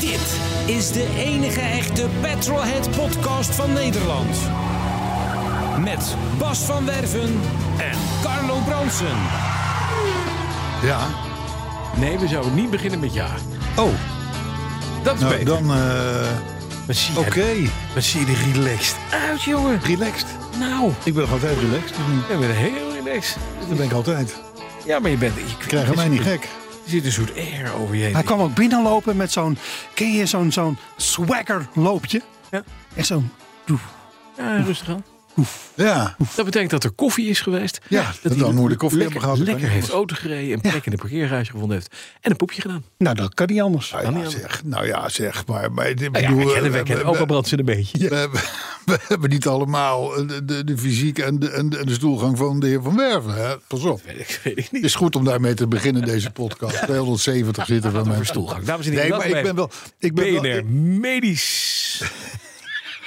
Dit is de enige echte Petrolhead podcast van Nederland. Met Bas van Werven en Carlo Bronsen. Ja. Nee, we zouden niet beginnen met ja. Oh, Dat is nou beter. dan. eh, Wat zie je- Oké. Wat zie je er relaxed uit, jongen? Relaxed. Nou, Ik ben nog altijd relaxed. of niet? ik ben heel relaxed. Dat ben ik altijd. Ja, maar je bent... Je Krijgen mij niet gek. Er zit een soort air over je heen. Hij kwam ook binnenlopen met zo'n, ken je zo'n zo'n swagger loopje? Ja. En zo'n, doef, Ja, rustig aan. Ja. Dat betekent dat er koffie is geweest. Ja, dat hij dan moet de koffie hebben lekker, gehad. Dat Lekker kan niet heeft auto gereden, een plek in de parkeergarage gevonden heeft. En een poepje gedaan. nou dat kan niet anders. Nou ja, zeg. Nou ja, zeg. Maar, maar ik Nou bedoel, ja, kennen eh, we, we- kennen we- ook al brandt ze een beetje. we hebben, we hebben niet allemaal de, de, de fysiek en de, en de en de stoelgang van de heer Van Werven. Hè? Pas op. Ik weet het niet. Het is goed om daarmee te beginnen, deze podcast. 270 zitten van mijn Stoelgang. Dames en heren, Nee, maar ik ben wel. Ik ben wel- BNR Medisch.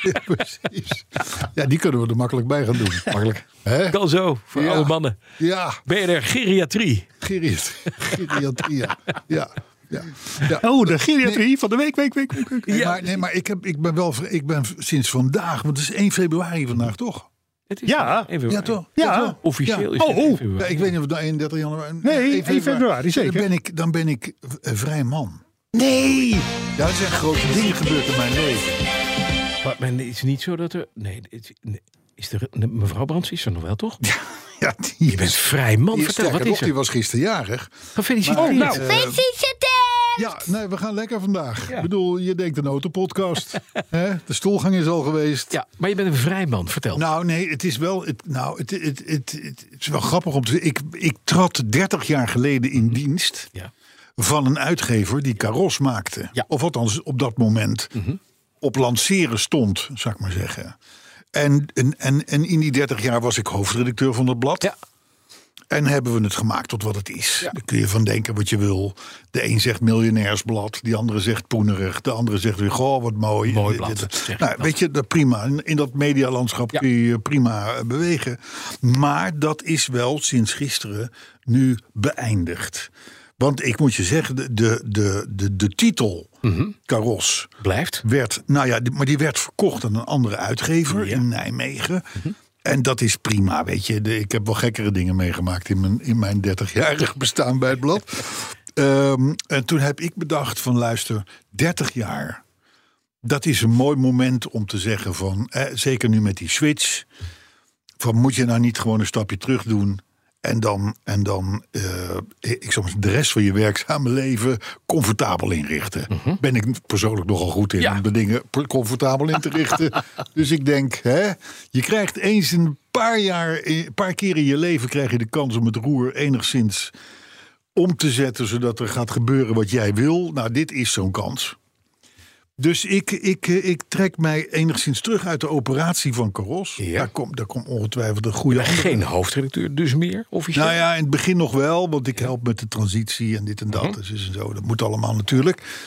Ja, precies. Ja, die kunnen we er makkelijk bij gaan doen. Makkelijk. Kan zo, voor Ja. alle mannen. Ja, BNR Geriatrie. geriat- geriatrie. Ja. Ja. Ja. Ja. Oh, de geriatrie van de week, week, week, week, week. Nee, Ja. maar, nee, maar ik, heb, ik ben wel ver- ik ben v- sinds vandaag, want het is 1 februari vandaag, toch? Het is Ja. één februari. Ja, toch? Ja. toch? Officieel is Oh, het oh. één februari. Ja, ik weet niet of het nou 31 januari... Nee, 1 februari, zeker. Dan ben ik, dan ben ik v- eh, vrij man. Nee! Ja, er zijn grote dingen gebeurd in mijn leven. Maar, maar het is niet zo dat er. Nee, het- nee. is er, nee, mevrouw Brands is er nog wel, toch? Ja, die Je bent vrij man. die Vertel, sterker wat nog, is die er? was gisterjarig. Gefeliciteerd. Maar- nou, Eh, ja, nee, we gaan lekker vandaag. Ik bedoel, je denkt een autopodcast. hè? De stoelgang is al geweest. ja, maar je bent een vrij man. Vertel. Nou, nee, het is wel. Het, nou, het, het, het, het, het is wel grappig om te zeggen. Ik, ik trad 30 jaar geleden in dienst ja. van een uitgever die karos maakte. Ja. Of althans op dat moment op lanceren stond, zou ik maar zeggen. En, en, en, en in die 30 jaar was ik hoofdredacteur van dat blad. Ja. En hebben we het gemaakt tot wat het is. Daar kun je van denken wat je wil. De een zegt miljonairsblad, die andere zegt poenerig. De andere zegt weer, goh, wat mooi. Mooi Eh, blad, dit- zeg nou, ik dan. weet je, dat prima. In, in dat medialandschap Ja. kun je je prima eh, bewegen. Maar dat is wel sinds gisteren nu beëindigd. Want ik moet je zeggen, de, de, de, de, de titel Mhm. Karos Blijft. werd, nou ja, die- maar die werd verkocht aan een andere uitgever in Nijmegen. En dat is prima, weet je. De- ik heb wel gekkere dingen meegemaakt in mijn, in mijn 30-jarig bestaan bij het blad. Ehm, en toen heb ik bedacht van luister, 30 jaar. Dat is een mooi moment om te zeggen van, eh, zeker nu met die switch. Van moet je nou niet gewoon een stapje terug doen? En dan, en dan eh, ik zou maar zeggen, de rest van je werkzame leven comfortabel inrichten. Ben ik persoonlijk nogal goed in Mhm. Ja. om de dingen per- comfortabel in te richten. dus ik denk, hè, je krijgt eens in een paar jaar, eh, een paar keer in je leven krijg je de kans om het roer enigszins om te zetten, zodat er gaat gebeuren wat jij wil. Nou, dit is zo'n kans. Dus ik, ik, eh, ik trek mij enigszins terug uit de operatie van Caros. Ja. Daar komt daar kom ongetwijfeld een goede andere- Geen hoofdredacteur dus meer, officieel. nou ja, in het begin nog wel, want ik help met de transitie en dit en dat. Mhm. Dus is en zo, dat moet allemaal natuurlijk.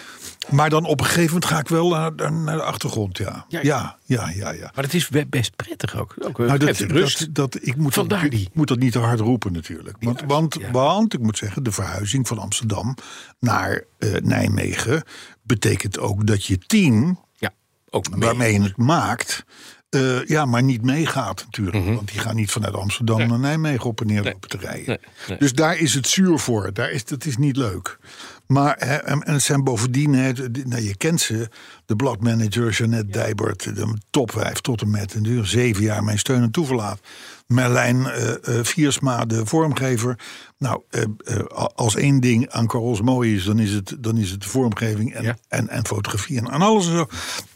Maar dan op een gegeven moment ga ik wel naar, naar- naar de achtergrond, ja. Ja, Ja, ja. ja, ja, ja. ja. Maar het is be- best prettig ook. ook eh, Nou, dat, geeft rust. dat, dat, ik moet Vandaar dat, die. ik moet dat niet te hard roepen natuurlijk. Want, want, ja. want, ik moet zeggen, de verhuizing van Amsterdam naar eh, Nijmegen... betekent ook dat je team, ja, ook mee. waarmee je het maakt. eh, ja, maar niet meegaat natuurlijk. Want die gaan niet vanuit Amsterdam naar Nijmegen op en neer lopen te rijden. Mhm. Nee, nee. Dus daar is het zuur voor. Daar is, dat is niet leuk. Maar hè, en en het zijn bovendien, hè, de- de- nou, je kent ze, de bladmanager Jeannette Dijbert, de topwijf tot en met, en duur zeven jaar mijn steun en toeverlaat. Merlijn eh, eh, Viersma, de vormgever. Nou, eh, eh, a- als één ding aan Carlos mooi is, dan is het, dan is het de vormgeving en, Ja. en, en fotografie en aan alles en zo.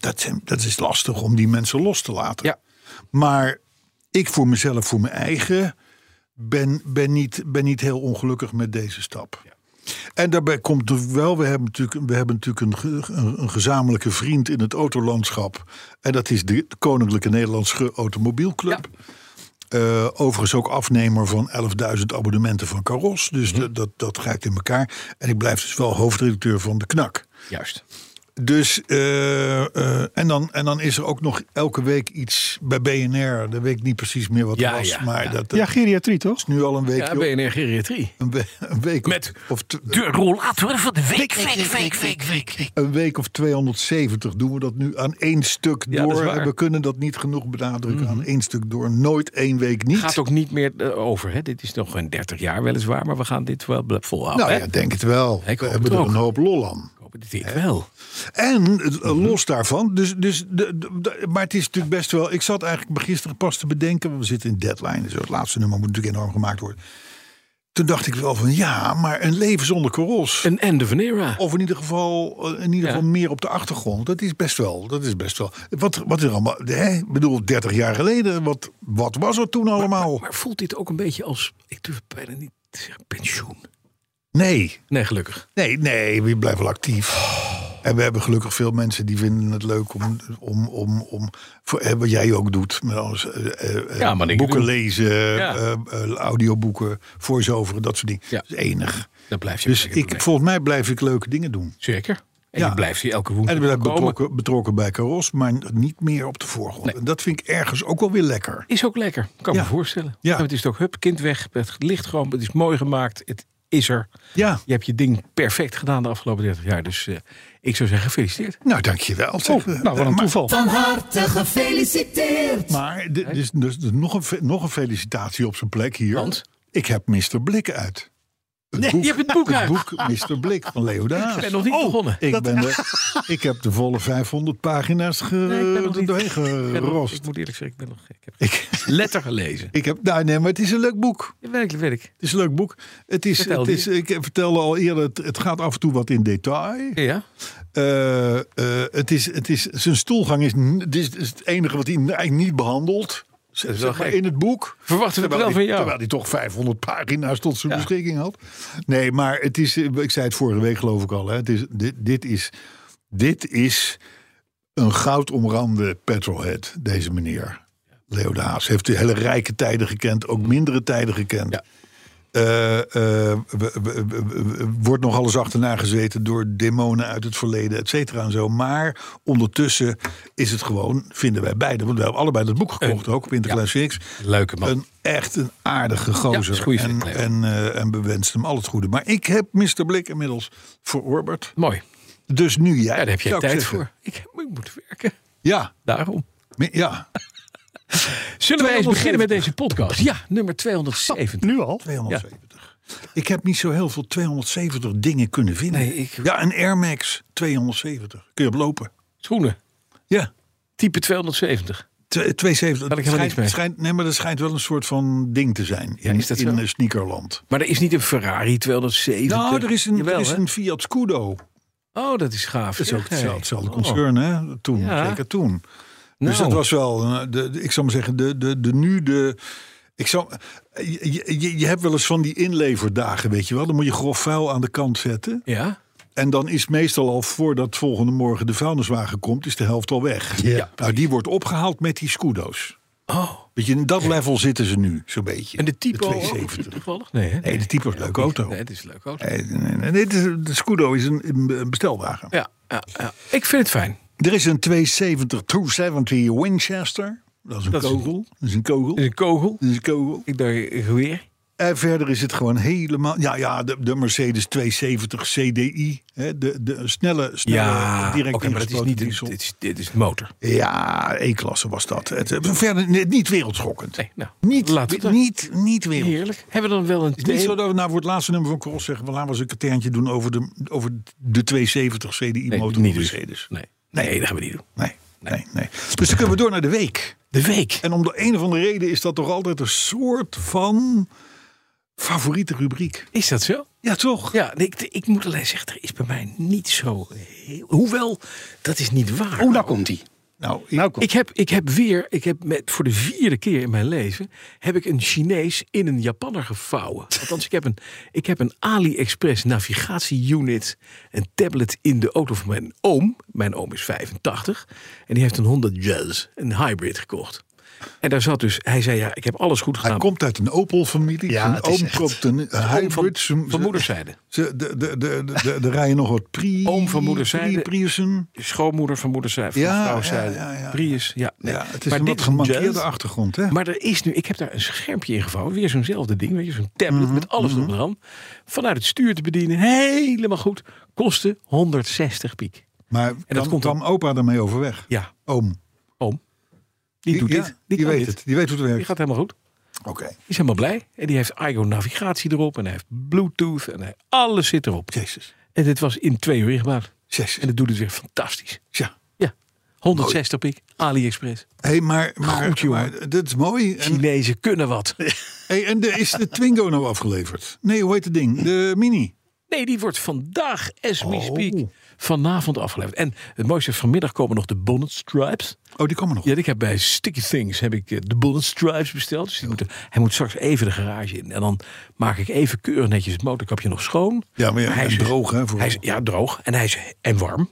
Dat, zijn- dat is lastig om die mensen los te laten. Ja. Maar ik voor mezelf, voor mijn eigen, ben, ben, niet, ben niet heel ongelukkig met deze stap. En daarbij komt er wel, we hebben natuurlijk, we hebben natuurlijk een, ge- een, een gezamenlijke vriend in het autolandschap. En dat is de Koninklijke Nederlandse Automobielclub. Eh, overigens ook afnemer van 11.000 abonnementen van Caros. Dus de- dat, dat grijpt in elkaar. En ik blijf dus wel hoofdredacteur van de Knak. Juist. Dus, eh, eh, en, dan, en dan is er ook nog elke week iets bij BNR. Dan weet ik niet precies meer wat Ja, het was. ja, maar ja. Dat, dat Ja, geriatrie toch? is nu al een week. Ja, joh. BNR Geriatrie. een, we- een week Met of, of t- De rollator van de week, week, week, week, week, week. een week of 270 doen we dat nu aan één stuk Ja, dat is door. waar. Mhm. En we kunnen dat niet genoeg benadrukken aan één stuk door. Nooit één week niet. Gaat ook niet meer eh, over. Hè? Dit is nog een 30 jaar weliswaar, maar we gaan dit wel bl- volhouden. nou hè? ja, denk het wel. Ik we hoop hebben het er ook. een hoop lol aan. Ik hoop het dit wel. En eh, Mhm. los daarvan, dus, dus de, de- de- maar het is natuurlijk best wel. Ik zat eigenlijk gisteren pas te bedenken, want we zitten in deadline, dus het laatste nummer moet natuurlijk enorm gemaakt worden. Toen dacht ik wel van ja, maar een leven zonder karos. Een end of an era. Of in ieder geval, eh, in ieder Ja. geval meer op de achtergrond. Dat is best wel. Dat is best wel. Wat, wat is er allemaal? Hè? Ik bedoel, 30 jaar geleden, wat, wat was er toen allemaal? Maar voelt dit ook een beetje als, ik durf het bijna niet te zeggen, pensioen? Nee, Nee, gelukkig. nee, nee, we blijven wel actief. En we hebben gelukkig veel mensen die vinden het leuk om, om, om, om voor, eh, wat jij ook doet, met alles, eh, eh, eh, Ja, maar dingen boeken doen. lezen, Ja. eh, eh, audioboeken, voice-over, dat soort dingen. Ja. Dat is enig. Dan blijf je Dus lekker ik, doen. volgens mij blijf ik leuke dingen doen. Zeker. En Ja. je blijft hier elke En woensdag ik ben komen. betrokken, betrokken bij Caros, maar niet meer op de voorgrond. En dat vind ik ergens ook wel weer lekker. Is ook lekker, kan Ja. me voorstellen. Ja. Ja. Het is ook hup, kind weg, het ligt gewoon, het is mooi gemaakt, het is er. Ja, Je hebt je ding perfect gedaan de afgelopen 30 jaar. Dus eh, ik zou zeggen, gefeliciteerd. nou dankjewel. Oh, zeg. Nou, wat een Maar- toeval. Van harte gefeliciteerd. Maar dit is dus, dus nog, een, fe- nog een felicitatie op zijn plek hier. Want? Ik heb Mr. Blik uit. Het Nee, je hebt het boek uit. boek Mr. Blik van Leo Daas. Ik ben nog niet begonnen. Ik, ben de- ik heb de volle 500 pagina's ge, Nee, ik ben nog Eh, er niet- doorheen Ik ben nog- gerost. Ik moet eerlijk zeggen, ik ben nog ik heb Ik, letter gelezen. ik heb, nou nee, maar het is een leuk boek. Ja, werkelijk, weet ik. Het is een leuk boek. Het is, Vertel het is, ik vertelde al eerder, het, het gaat af en toe wat in detail. Ja, Ja, Eh, eh, het is, het is, zijn stoelgang is, n- het is, is het enige wat hij eigenlijk niet behandelt. Zeg wel maar, gek. in het boek. Verwachten we het wel Terwijl van hij- jou. Terwijl hij toch 500 pagina's tot zijn Ja. beschikking had. Nee, maar het is, eh, ik zei het vorige week geloof ik al. Hè, het is, dit, dit, is, dit is een goudomrande petrolhead, deze meneer. Leo de Haas heeft hele rijke tijden gekend, ook mindere tijden gekend. Ja. Eh, eh, we- we- we- we- wordt nog alles achterna gezeten door demonen uit het verleden, et cetera en zo. Maar ondertussen is het gewoon, vinden wij beide, want we hebben allebei dat boek gekocht ook op Interclass X. leuke man. Een echt een aardige Ja, gozer. is een goeie en, vent, Leo. en, eh, en we wensen hem al het goede. Maar ik heb Mr. Blik inmiddels verorberd. Mooi. Dus nu jij. Ja, daar heb jij zou ik tijd zeggen. voor. Ik, heb- ik moet werken. Ja, Daarom. mi- ja. Zullen wij eens 270? beginnen met deze podcast? Ja, nummer 270. Nu al? 270. Ik heb niet zo heel veel 270 dingen kunnen vinden. Nee, ik- Ja, een Air Max 270. Kun je op lopen? Schoenen. Ja. Type 270. Tw- 270. Kan ik helemaal schijnt, niks mee. schijnt- nee, maar dat schijnt wel een soort van ding te zijn in, is dat in zo? eh, sneakerland. Maar er is niet een Ferrari 270. Nou, er is een, Jawel, er is hè? een Fiat Scudo. Oh, dat is gaaf. Dat is ook Ja, hetzelfde, hey. hetzelfde Oh. concern, hè? Toen, Ja. zeker toen. Dus Nou. dat was wel, eh, de, de- ik zou maar zeggen, de, de, de nu de... Ik zou, je, je, je hebt wel eens van die inleverdagen, weet je wel. Dan moet je grof vuil aan de kant zetten. Ja. En dan is meestal al voordat volgende morgen de vuilniswagen komt, is de helft al weg. Ja. Nou, die wordt opgehaald met die scudo's. Oh. Weet je, in dat level zitten ze nu, zo'n beetje. En de typo ook, 270. toevallig? Nee, hè? Nee, de typo is een leuke auto. Nee, het is een leuke auto. Nee, nee, nee, nee, de, de Scudo is een, een bestelwagen. Ja, ja, ja. Ik vind het fijn. Er is een 270, 270 Winchester. Dat is een Dat is een- kogel. dat is een kogel. Het is een kogel. Dat is een kogel. Ik dacht, een geweer. En verder is het gewoon helemaal... Ja, ja de, de Mercedes 270 CDI. Hè, de, de snelle, snelle direct Eh, oké, maar dat is ingespoten niet een, diesel. dit, is, dit is motor. Ja, E-klasse was dat. Het, eh, verder nee, niet wereldschokkend. Nee, nou, Niet, laten we dat- niet, niet wereld. Heerlijk. Hebben we dan wel een Het is niet zo tweede- dat we nou voor het laatste nummer van Cross zeggen... we laten we eens een katerntje doen over de, over de 270 Nee, CDI-motor niet dus. Mercedes. Nee. nee, dat gaan we niet doen. Nee, nee, nee. Dus dan kunnen we door naar de week. De week. En om de een of andere reden is dat toch altijd een soort van favoriete rubriek. Is dat zo? Ja, toch? Ja, nee, ik, ik moet alleen zeggen, er is bij mij niet zo heel... Hoewel, dat is niet waar. Oh, daar komt hij. Nou, ik- Nou, kom. Ik heb, ik heb weer, ik heb met, voor de vierde keer in mijn leven, heb ik een Chinees in een Japanner gevouwen. Althans, ik heb een, ik heb een AliExpress navigatieunit, een tablet in de auto van mijn oom. Mijn oom is 85 en die heeft een Honda Jazz, een hybrid gekocht. En daar zat dus, hij zei ja, ik heb alles goed hij gedaan. komt uit een Opel-familie. Ja, zijn het is oom echt- komt een eh, Oom van, hybrid. Zijn- van zijn- moederszijde. Ze, de, de, de, de, de, er rijden nog wat pri, Oom van moederszijde. pri- Priussen. Schoonmoeder van moederszijde, van Ja, vrouwzijde. ja, ja, ja. Prius, ja. nee. Ja, het is Maar een dit wat is een gemankeerde Jazz. achtergrond. Hè? Maar er is nu, ik heb daar een schermpje in gevouwen. Weer zo'nzelfde ding, weet je, zo'n tablet Mhm, met alles erop en eraan. Vanuit het stuur te bedienen, helemaal goed. Kostte 160 piek. maar en dat dat komt komt dan opa daarmee overweg. Ja, Oom. oom. Die doet ja, dit. Die, kan weet dit. het. Die weet hoe het Die werkt. gaat helemaal goed. Oké. Die is helemaal blij. En die heeft IGO navigatie erop. En hij heeft Bluetooth. En hij, alles zit erop. Jezus. En dit was in twee uur ingebouwd. Jezus. En dat doet het weer fantastisch. Ja. Ja. 160 piek. AliExpress. Hey, maar, maar, Goed, jongen. maar dat is mooi. En, Chinezen kunnen wat. hey, en de, is de Twingo nou afgeleverd? Nee, hoe heet het ding? De Mini. Nee, die wordt vandaag, as Oh. we speak, vanavond afgeleverd. En het mooiste is, vanmiddag komen nog de Bonnet Stripes. Oh, die komen nog. Ja, ik heb bij Sticky Things heb ik eh, de Bonnet Stripes besteld. Dus die moeten, hij moet straks even de garage in. En dan maak ik even keurig netjes het motorkapje nog schoon. Ja, maar ja, en droog, hè, vooral. Hij is, ja, droog. En, hij is, en warm.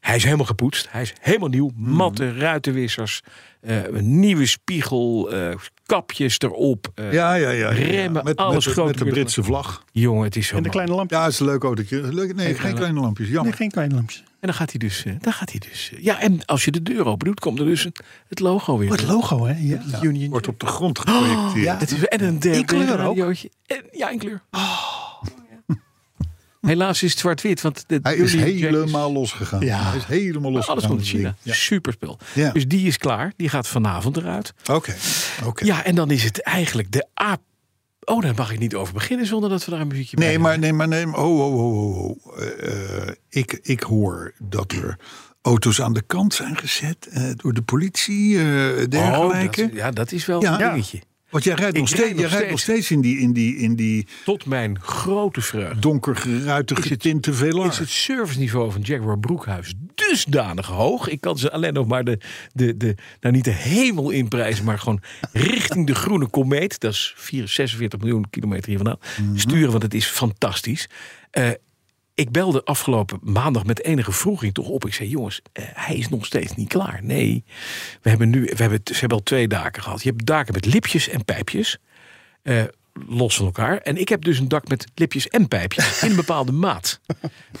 Hij is helemaal gepoetst. Hij is helemaal nieuw. Hmm. Matte ruitenwissers. eh, een nieuwe spiegel. eh, kapjes erop. eh, Ja, ja, ja. ja, ja. Remmen, Oh, met, alles met, de- grote Met de buurt. Britse vlag. Jongen, het is zo En de mooi. kleine lampje. Ja, het is een leuk autootje. Leuk, nee, geen kleine- kleine lampjes. Nee, Jammer. geen kleine lampjes. En dan gaat hij dus. eh, Dan gaat hij dus eh, ja, en als je de deur open doet, komt er dus een- het logo weer. Wat logo, hè? Ja. Union. Wordt op de grond geprojecteerd. Het is, en een derde In kleur ook? Oh. radiootje. En, ja, in kleur. Helaas is het zwart-wit. Want de Hij is Union Jack helemaal losgegaan. Ja. Hij is helemaal losgegaan. Alles komt uit dat ding. China. Ja. Superspel. Ja. Dus die is klaar. Die gaat vanavond eruit. Oké. oké. Ja, en dan is het eigenlijk de A. Oh, daar mag ik niet over beginnen zonder dat we daar een muziekje bij Nee, hebben. maar nee, maar nee. maar- Ho, ho, ho, ho, ho. Eh, eh, ik, ik hoor dat er auto's aan de kant zijn gezet eh, door de politie, eh dergelijke. Oh, dat, ja, dat is wel Ja. een dingetje. Want jij rijdt Ik nog rijd steeds, nog jij rijdt nog steeds. steeds in die, in die, in die Tot mijn grote vreugde. donker geruite getinte velar. is het serviceniveau van Jaguar Broekhuis dusdanig hoog. Ik kan ze alleen nog maar de, de, de nou niet de hemel inprijzen, maar gewoon richting de groene komeet. Dat is 4, 46 miljoen kilometer hier vandaan. Sturen, want het is fantastisch. Eh, ik belde afgelopen maandag met enige vroeging toch op. Ik zei, jongens, eh, hij is nog steeds niet klaar. Nee, we hebben nu, we hebben, ze hebben al twee daken gehad. Je hebt daken met lipjes en pijpjes. eh, los van elkaar. En ik heb dus een dak met lipjes en pijpjes in een bepaalde maat.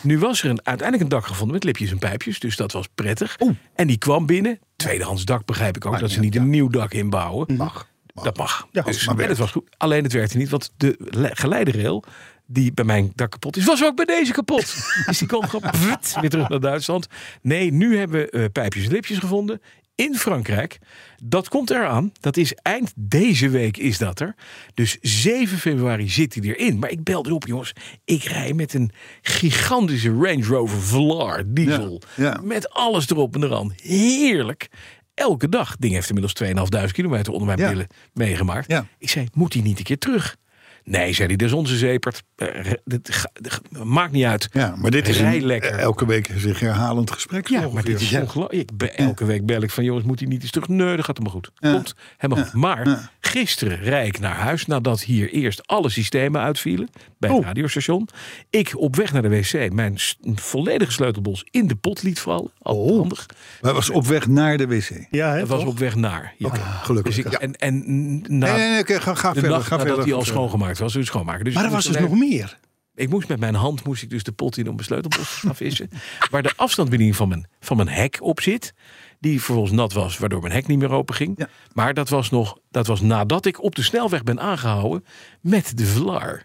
Nu was er een, uiteindelijk een dak gevonden met lipjes en pijpjes. Dus dat was prettig. En die kwam binnen. Tweedehands dak begrijp ik ook. dat ze niet een nieuw dak inbouwen. Ah, Mag. Dat mag. Ja, dus, als het en dat was goed. Alleen het werkte niet. Want de le- geleiderail die bij mijn dak kapot is, was ook bij deze kapot. dus die kwam gewoon pfft, weer terug naar Duitsland. Nee, nu hebben we eh, pijpjes en lipjes gevonden. In Frankrijk. Dat komt eraan. Dat is eind deze week is dat er. Dus 7 februari zit hij erin. Maar ik belde op, jongens. Ik rij met een gigantische Range Rover Velar diesel. ja. Met alles erop en eraan. Heerlijk. Elke dag. Ding heeft inmiddels 2.500 kilometer onder mijn Ja. billen meegemaakt. Ja. Ik zei, moet hij niet een keer terug? Nee, zei hij, dat is onze zeepert. Eh, dit ga- dit ga- maakt niet uit. Ja, maar dit is Rij een, lekker. eh, elke week zich herhalend gesprek. zo Ja, maar ongeveer. dit is ongelooflijk. Ik be- Elke week bel ik van jongens, moet hij niet eens terug? Nee, dat gaat helemaal goed. Komt helemaal goed. Maar gisteren rijd ik naar huis nadat hier eerst alle systemen uitvielen bij Oh. het radiostation. Ik op weg naar de wc mijn s- volledige sleutelbos in de pot liet vallen. Altijd Oh. handig. Hij was op weg naar de wc. Nee, Ja, hè, Dat was toch? op weg naar. Ja. Ah, gelukkig. Dus ik, Ja. en, en na nee, nee, oké, ga, ga de Ah, verder. nacht Ga nadat verder. hij al Ga schoongemaakt was, dus schoonmaken. Dus Maar ik er was moest dus alleen- nog meer. ik moest met mijn hand moest ik dus de pot in om mijn sleutelbos te gaan vissen. Waar de afstandsbediening van mijn, van mijn hek op zit. Die vervolgens nat was, waardoor mijn hek niet meer open ging. Ja. Maar dat was, nog, dat was nadat ik op de snelweg ben aangehouden met de Vlar.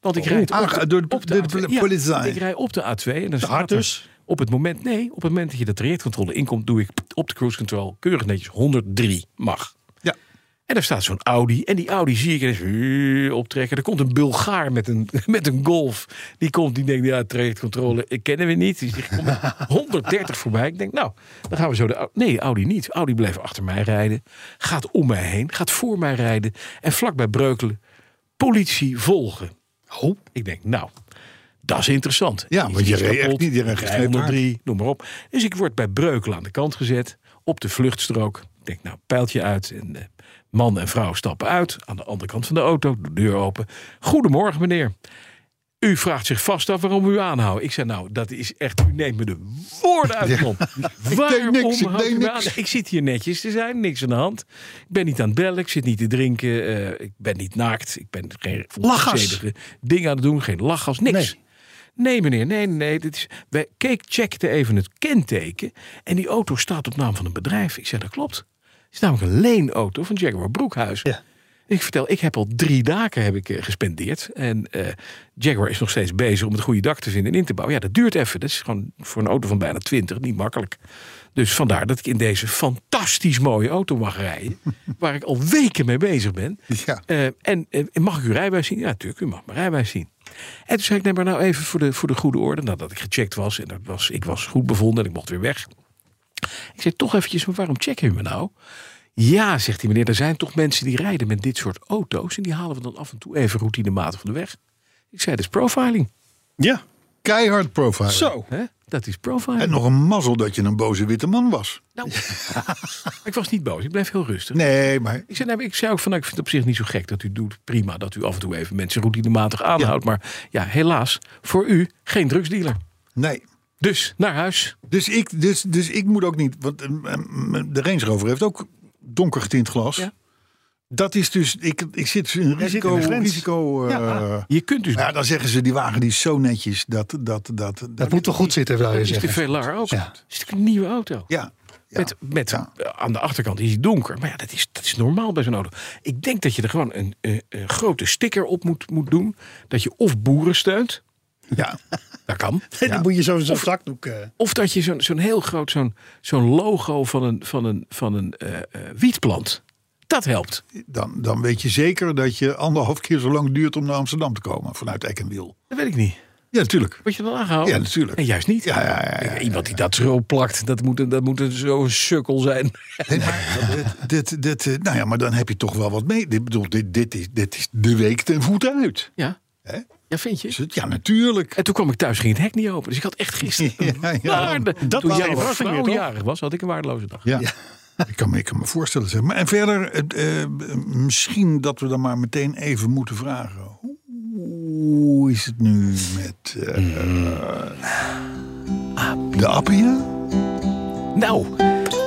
Want ik rijd op Oh, aange- door de- door de A2. politie. Ja, ik rijd op de A2 en dan staat er dus? op het moment... Nee, op het moment dat je de trajectcontrole inkomt... doe ik op de cruise control keurig netjes 103 mag. Ja. En daar staat zo'n Audi. En die Audi zie ik ineens huuu, optrekken. Er komt een Bulgaar met een, met een Golf. Die komt, die denkt, ja, trajectcontrole ik kennen we niet. Dus die komt met 130 voorbij. Ik denk, nou, dan gaan we zo de... Au- Nee, Audi niet. Audi blijft achter mij rijden. Gaat om mij heen. Gaat voor mij rijden. En vlakbij Breukelen, politie volgen. Oh. Ik denk, nou, dat is interessant. Ja, Iets want je is reed echt kapot, niet, je reed ik rij gesleept 103, noem maar op. Dus ik word bij Breukelen aan de kant gezet. op de vluchtstrook. Ik denk, nou, pijltje uit. En eh, man en vrouw stappen uit. Aan de andere kant van de auto, de deur open. Goedemorgen, meneer. U vraagt zich vast af waarom we u aanhouden. Ik zei, nou, dat is echt... U neemt me de woorden uit de mond. Waarom niks, ik houdt deed u me niks. aan? Ik zit hier netjes te zijn, niks aan de hand. Ik ben niet aan het bellen, ik zit niet te drinken. eh, ik ben niet naakt, ik ben geen Lachgas. onzedige dingen aan het doen. Geen lachgas, niks. Nee. Nee. meneer, nee, nee. Dit is, wij keek, checkten even het kenteken. En die auto staat op naam van een bedrijf. Ik zei, dat klopt. Het is namelijk een leenauto van Jaguar Broekhuis. Ja. Ik vertel, ik heb al drie daken heb ik eh, gespendeerd. En eh, Jaguar is nog steeds bezig om het goede dak te vinden en in te bouwen. Ja, dat duurt even. Dat is gewoon voor een auto van bijna 20 niet makkelijk. Dus vandaar dat ik in deze fantastisch mooie auto mag rijden. waar ik al weken mee bezig ben. Ja. Eh, en eh, mag ik uw rijbewijs zien? Ja, natuurlijk, u mag mijn rijbewijs zien. En toen zei ik, neem maar nou even voor de, voor de goede orde. Nadat ik gecheckt was en dat was, ik was goed bevonden en ik mocht weer weg. Ik zei toch eventjes, maar waarom checken u me nou? Ja, zegt die meneer, er zijn toch mensen die rijden met dit soort auto's. En die halen we dan af en toe even routinematig van de weg. Ik zei, dat is profiling. Ja. Keihard profile. Zo. Hè? Dat is profiling. En nog een mazzel dat je een boze witte man was. Nou, ik was niet boos, ik bleef heel rustig. Nee, maar Ik zei, nee, maar ik zei ook van, nou, ik vind het op zich niet zo gek dat u het doet. Prima dat u af en toe even mensen routinematig aanhoudt. Maar ja, helaas, voor u geen drugsdealer. nee. Dus, naar huis. Dus ik, dus, dus ik moet ook niet. Want eh, m- de Range Rover heeft ook donker getint glas. Ja. Dat is dus. Ik, ik zit dus in Jij een zit risico. in een grens. risico eh, ja. Je kunt dus dan zeggen ze die wagen die is zo netjes. Dat. Dat, dat, dat, Dat moet toch goed zitten, wil je is de zeggen. Velar ook. Ja. Het is natuurlijk een nieuwe auto. Ja. ja. Met, met, Ja. eh, Aan de achterkant is hij donker. Maar ja, dat is, dat is normaal bij zo'n auto. Ik denk dat je er gewoon een, eh, een grote sticker op moet, moet doen. Dat je of boeren steunt. ja. Dat kan. Ja. Dan moet je zo'n zo'n zakdoek... eh, Of dat je zo'n zo'n heel groot zo'n zo'n logo van een, van een, van een eh, eh, wietplant. Dat helpt. Dan, dan weet je zeker dat je anderhalf keer zo lang duurt om naar Amsterdam te komen. Vanuit Eck en Wiel. Dat weet ik niet. Ja, natuurlijk. Word je dan aangehouden? Ja, natuurlijk. En juist niet. Ja, ja, ja, ja, ja. Iemand die dat zo plakt, dat moet, een- dat moet een- zo'n sukkel zijn. Nee, maar dit, dit, dit, eh, nou ja, maar dan heb je toch wel wat mee. Dit, bedoel, dit, dit, is, dit is de week ten voet uit. Ja, Hè? ja vind je? Is het? Ja, natuurlijk. En toen kwam ik thuis, ging het hek niet open. Dus ik had echt gisteren een Ja, ja. waarde- Dat toen was jouw een verrassing weer, vrouw toch? jarig was, had ik een waardeloze dag. Ja. Ik, kan me, ik kan me voorstellen. Zeg. Maar, en verder, eh, eh, misschien dat we dan maar meteen even moeten vragen. Hoe- Hoe is het nu met eh, Mm. de Appia? Nou,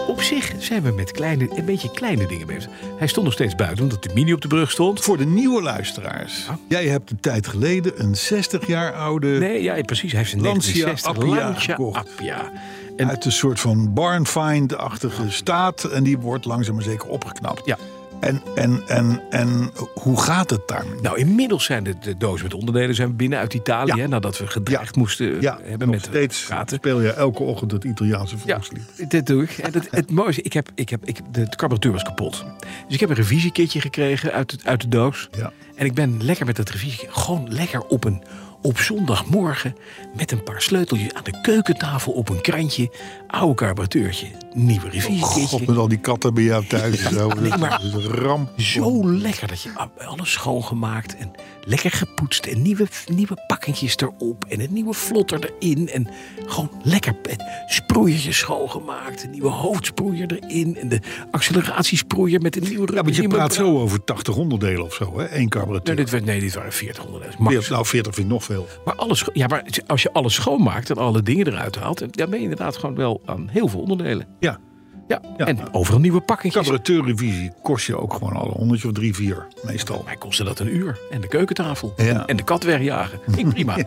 op zich zijn we met kleine, een beetje kleine dingen bezig. Hij stond nog steeds buiten, omdat de mini op de brug stond. Voor de nieuwe luisteraars. Jij hebt een tijd geleden een 60 jaar oude... Nee, ja, precies. Hij heeft een Lancia 1960 Appia Lancia gekocht. Appia. En Uit een soort van barnfind-achtige staat. En die wordt langzaam maar zeker opgeknapt. Ja. En, en, en, en hoe gaat het daar? nou, inmiddels zijn de, de dozen met onderdelen zijn binnen uit Italië. Ja. Hè, nadat we gedreigd Ja. moesten eh, hebben nog met steeds praten. speel je elke ochtend het Italiaanse Ja, volkslied. dat doe ik. En het, het mooiste, ik heb, ik heb, ik, de, de carburateur was kapot. Dus ik heb een revisiekitje gekregen uit, het, uit de doos. Ja. En ik ben lekker met dat revisiekitje, gewoon lekker op een... Op zondagmorgen met een paar sleuteltjes aan de keukentafel op een krantje. Oude carburateurtje, nieuwe Oh, God, revisiekitje. met al die katten bij jou thuis. en Zo. nee, maar- Dat is een ramp. Zo lekker dat je alles schoongemaakt en lekker gepoetst en nieuwe, nieuwe pakketjes erop en een nieuwe vlotter erin. En gewoon lekker en sproeiertjes schoongemaakt, een nieuwe hoofdsproeier erin en de acceleratiesproeier met een nieuwe rubber. Ja, want je nieuwe praat bra- zo over 80 onderdelen of zo, hè? Eén Nee, carburateur. dit werd, nee, dit waren 40 onderdelen. nou, 40 vind ik nog veel. Maar, alles, scho- ja, maar als je alles schoonmaakt en alle dingen eruit haalt, dan ben je inderdaad gewoon wel aan heel veel onderdelen. Ja, Ja, Ja. en overal nieuwe pakketjes. carburateurrevisie kost je ook gewoon al een honderdje of drie, vier, meestal. Mij kostte dat een uur. En de keukentafel. Ja. En, en de kat wegjagen. Ik prima.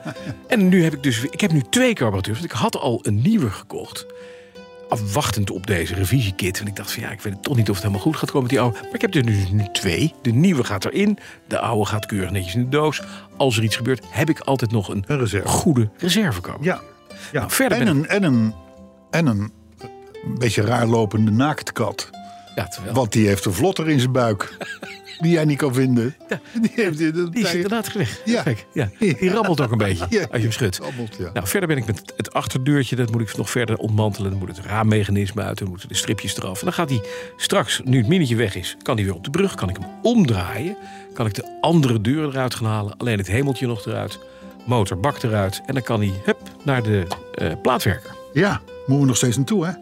En nu heb ik dus... Ik heb nu twee carburateurs. Want ik had al een nieuwe gekocht. Afwachtend op deze revisiekit. Want ik dacht van ja, ik weet toch niet of het helemaal goed gaat komen met die oude. Maar ik heb er dus nu twee. De nieuwe gaat erin. De oude gaat keurig netjes in de doos. Als er iets gebeurt, heb ik altijd nog een, Een reserve. goede reservecarburateur. Ja. ja. Nou, verder en, ben een, en, een, en een beetje raar lopende naaktkat. Ja, terwijl- Want die heeft een vlotter in zijn buik. die jij niet kan vinden. Die, heeft, Die is inderdaad weg. Ja. Gek, ja. Die rammelt ook een beetje Ja, als je hem schudt. rammelt, ja. Nou, verder ben ik met het achterdeurtje. Dat moet ik nog verder ontmantelen. Dan moet het raammechanisme uit. Dan moeten de stripjes eraf. En dan gaat hij straks, nu het minnetje weg is, kan hij weer op de brug. Kan ik hem omdraaien. Kan ik de andere deur eruit gaan halen. Alleen het hemeltje nog eruit. Motorbak eruit. En dan kan hij, hup, naar de eh, plaatwerker. Mhm. Ja, moeten we nog steeds naartoe, hè?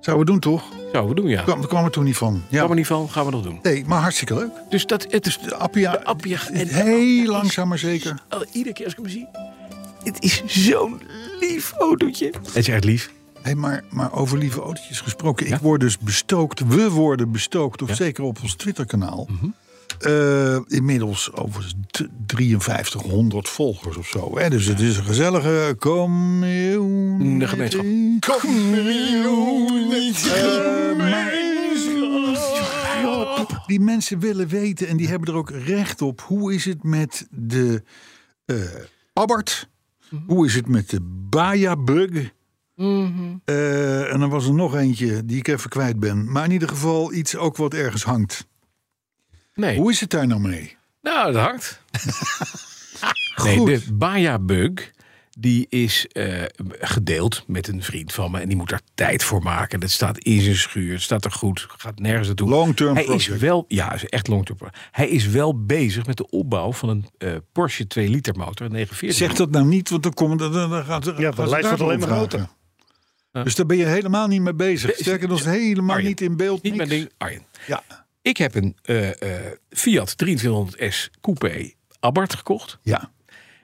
Zouden we doen toch? Zo, we doen ja. Kwam, kwam er toen niet van. Ja. Gaan we niet van, gaan we nog doen. Nee, maar hartstikke leuk. Dus dat, het is De Appia, De Appia en- heel langzaam maar zeker. Oh, iedere keer als ik hem zie. Het is zo'n lief autootje. Het is echt lief. Hey, maar, maar over lieve autootjes gesproken. Ja? Ik word dus bestookt. We worden bestookt. Of zeker op ons Twitterkanaal. Mhm. Eh, inmiddels over 5300 volgers of zo. Hè? Dus het is een gezellige community. De gemeenschap. Eh, maar- Die mensen willen weten en die hebben er ook recht op. Hoe is het met de eh Abbart? Mhm. Hoe is het met de Bayabug? Eh, en dan was er nog eentje die ik even kwijt ben. Maar in ieder geval iets ook wat ergens hangt. Nee. Hoe is het daar nou mee? Nou, dat hangt. nee, Goed. de Baya-bug die is eh, gedeeld met een vriend van me. En die moet daar tijd voor maken. Dat staat in zijn schuur. Het staat er goed. Gaat nergens naartoe. Long-term Hij is project. wel, ja, is echt long term. Hij is wel bezig met de opbouw van een eh, Porsche 2 liter motor, een 940. Zeg dat nou niet, want dan, komt, dan, dan dan gaat de gaat ze lijst wordt daarover alleen maar vragen. groter. Dus daar ben je helemaal niet mee bezig. Sterker nog, helemaal Arjen, niet in beeld. Niet mijn niks. ding, Arjen. Ja. Ik heb een eh, eh, Fiat 2300S Coupé Abarth gekocht, Ja.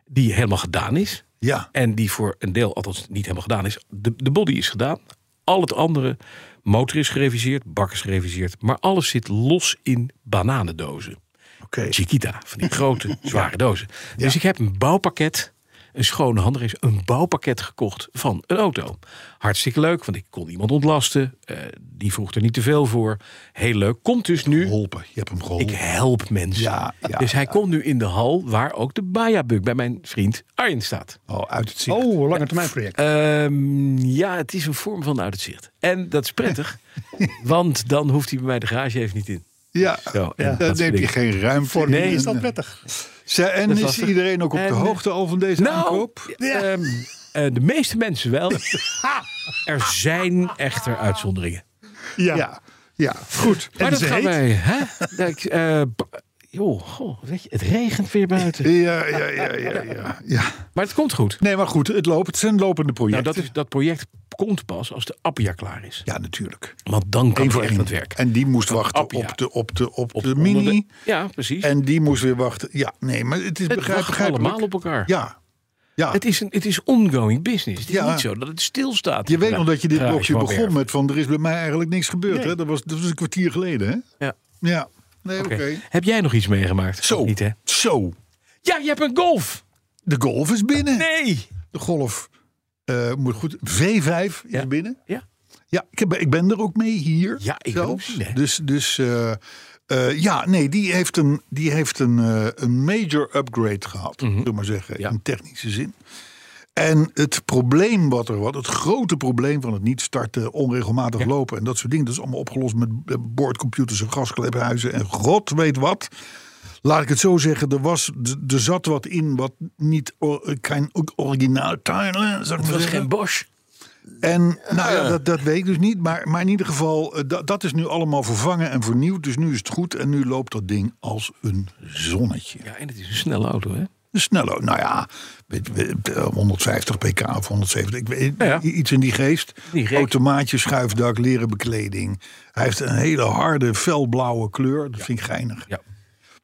die helemaal gedaan is. Ja. En die voor een deel, althans niet helemaal gedaan is. De, de body is gedaan. Al het andere, motor is gereviseerd, bak is gereviseerd. Maar alles zit los in bananendozen. Oké. Chiquita, van die grote, zware dozen. Dus ik heb een bouwpakket, een schone handrace, een bouwpakket gekocht van een auto. Hartstikke leuk, want ik kon iemand ontlasten. eh, die vroeg er niet te veel voor. Heel leuk. Komt dus nu Geholpen. Je hebt hem geholpen. ik help mensen. Ja, ja, dus hij komt nu in de hal waar ook de Bayabug bij mijn vriend Arjen staat. Oh, uit het zicht. Oh, lange termijn project. Ehm, ja, het is een vorm van uit het zicht. En dat is prettig, want dan hoeft hij bij mij de garage even niet in. Ja. Zo, en dat Daar soort neem je dingen. geen ruimte voor. Nee, is dat prettig? Ze- En Dat is was het. iedereen ook op En- de hoogte al van deze Nou, aankoop? ehm, eh, de meeste mensen wel. er zijn echter uitzonderingen. Ja. Ja. Ja, goed. Maar dat ze gaan heet? wij. Hè? Ja, ik, eh, b- joh, goh, weet je, het regent weer buiten. Ja, ja, ja, ja, ja, ja. Maar het komt goed. Nee, maar goed, het loopt. Het zijn lopende Nou, projecten. dat, is, dat project komt pas als de Appia klaar is. Ja, natuurlijk. Want dan kan Eén je voor echt één. aan het werk. En die moest wachten Appia. op de, op de, op Op de onder mini. ja, precies. En die moest weer wachten. Ja, nee, maar het is het begrijp, wacht begrijpelijk. allemaal op elkaar. Ja. ja. Het, is een, het is ongoing business. Het is Ja. niet zo dat het stilstaat. je weet nog dat je dit Ja, blokje ik wou begon weer. met van er is bij mij eigenlijk niks gebeurd. Nee. Hè? Dat, was, dat was een kwartier geleden. Hè? Ja. Ja. Nee, oké. Oké. Heb jij nog iets meegemaakt? Zo. Niet, hè? Zo. Ja, je hebt een golf. De golf is binnen. Nee. De golf eh, moet goed. V5 is Ja. binnen. Ja. Ja, ik, heb, ik ben er ook mee hier. Ja, ik wil zelfs. ook zien, hè. Dus, dus eh, eh, ja, nee, die heeft een, die heeft een, eh, een major upgrade gehad, zullen we maar zeggen, Mhm. Ja. in technische zin. En het probleem wat er was, het grote probleem van het niet starten, onregelmatig lopen en dat soort dingen, dat is allemaal opgelost met eh, boordcomputers en gasklephuizen en god weet wat. Laat ik het zo zeggen, er, was, d- er zat wat in wat niet or, kein originaal tuin. Het was geen Bosch. En nou ja, dat, dat weet ik dus niet. Maar, maar in ieder geval, eh, dat, dat is nu allemaal vervangen en vernieuwd. Dus nu is het goed en nu loopt dat ding als een zonnetje. Ja, en het is een snelle auto, hè? Snello, nou ja, weet- weet- eh, 150 pk of 170, ik weet, Ja, ja. i- iets in die geest. Die reeks. Automaatje, schuifdak, leren bekleding. Hij heeft een hele harde, felblauwe kleur. Dat vind ik geinig. Ja.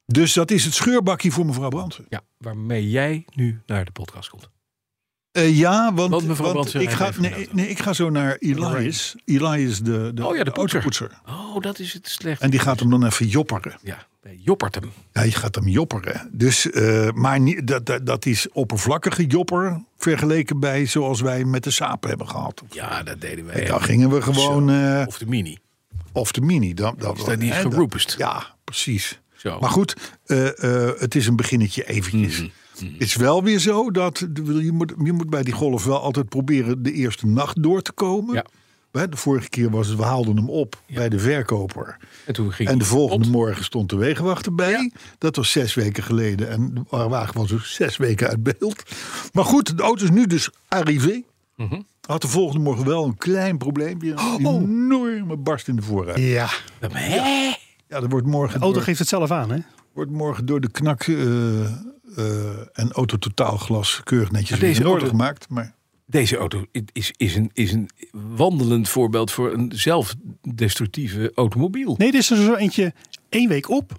Dus dat is het scheurbakje voor mevrouw Brandsen. ja. Waarmee jij nu naar de podcast komt. Eh, ja, want, Want mevrouw Brandsen ik, ga, rijdt even nee, een auto. nee, ik ga zo naar Elias. Elias, de, de, Oh ja, de poetser. autopoetser. Oh, dat is het slecht. En die gaat hem dan even jopperen. Ja, bij Joppertem. Ja, je gaat hem jopperen. Dus, eh, maar niet, dat, dat, dat is oppervlakkige jopper vergeleken bij zoals wij met de saap hebben gehad. Ja, dat deden wij. En dan gingen we gewoon, eh, Of de Mini. of de mini. Dan, dan, Is dat niet hè, dan- geroepest? Ja, precies. Zo. Mhm. Maar goed, eh, eh, het is een beginnetje eventjes. Het is wel weer zo dat de- je moet, je moet bij die golf wel altijd proberen de eerste nacht door te komen. Ja. Hè, De vorige keer was het, we haalden hem op bij de verkoper. En toen ging En de die volgende kapot. morgen stond de wegenwachter bij. Dat was zes weken geleden. En de wagen was dus zes weken uit beeld. Maar goed, de auto is nu dus arrivé. Had de volgende morgen wel een klein probleempje. Een enorme barst in de voorruit. Ja, Ja. Hè? dat wordt morgen, Auto door, geeft het zelf aan, hè? wordt morgen door de knak eh eh en autototaalglas keurig netjes Maar deze in orde auto- gemaakt. Maar Deze auto is, is, een, is een wandelend voorbeeld voor een zelfdestructieve automobiel. Nee, dit is er zo eentje één week op,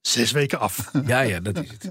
zes weken af. Ja, ja, dat is het.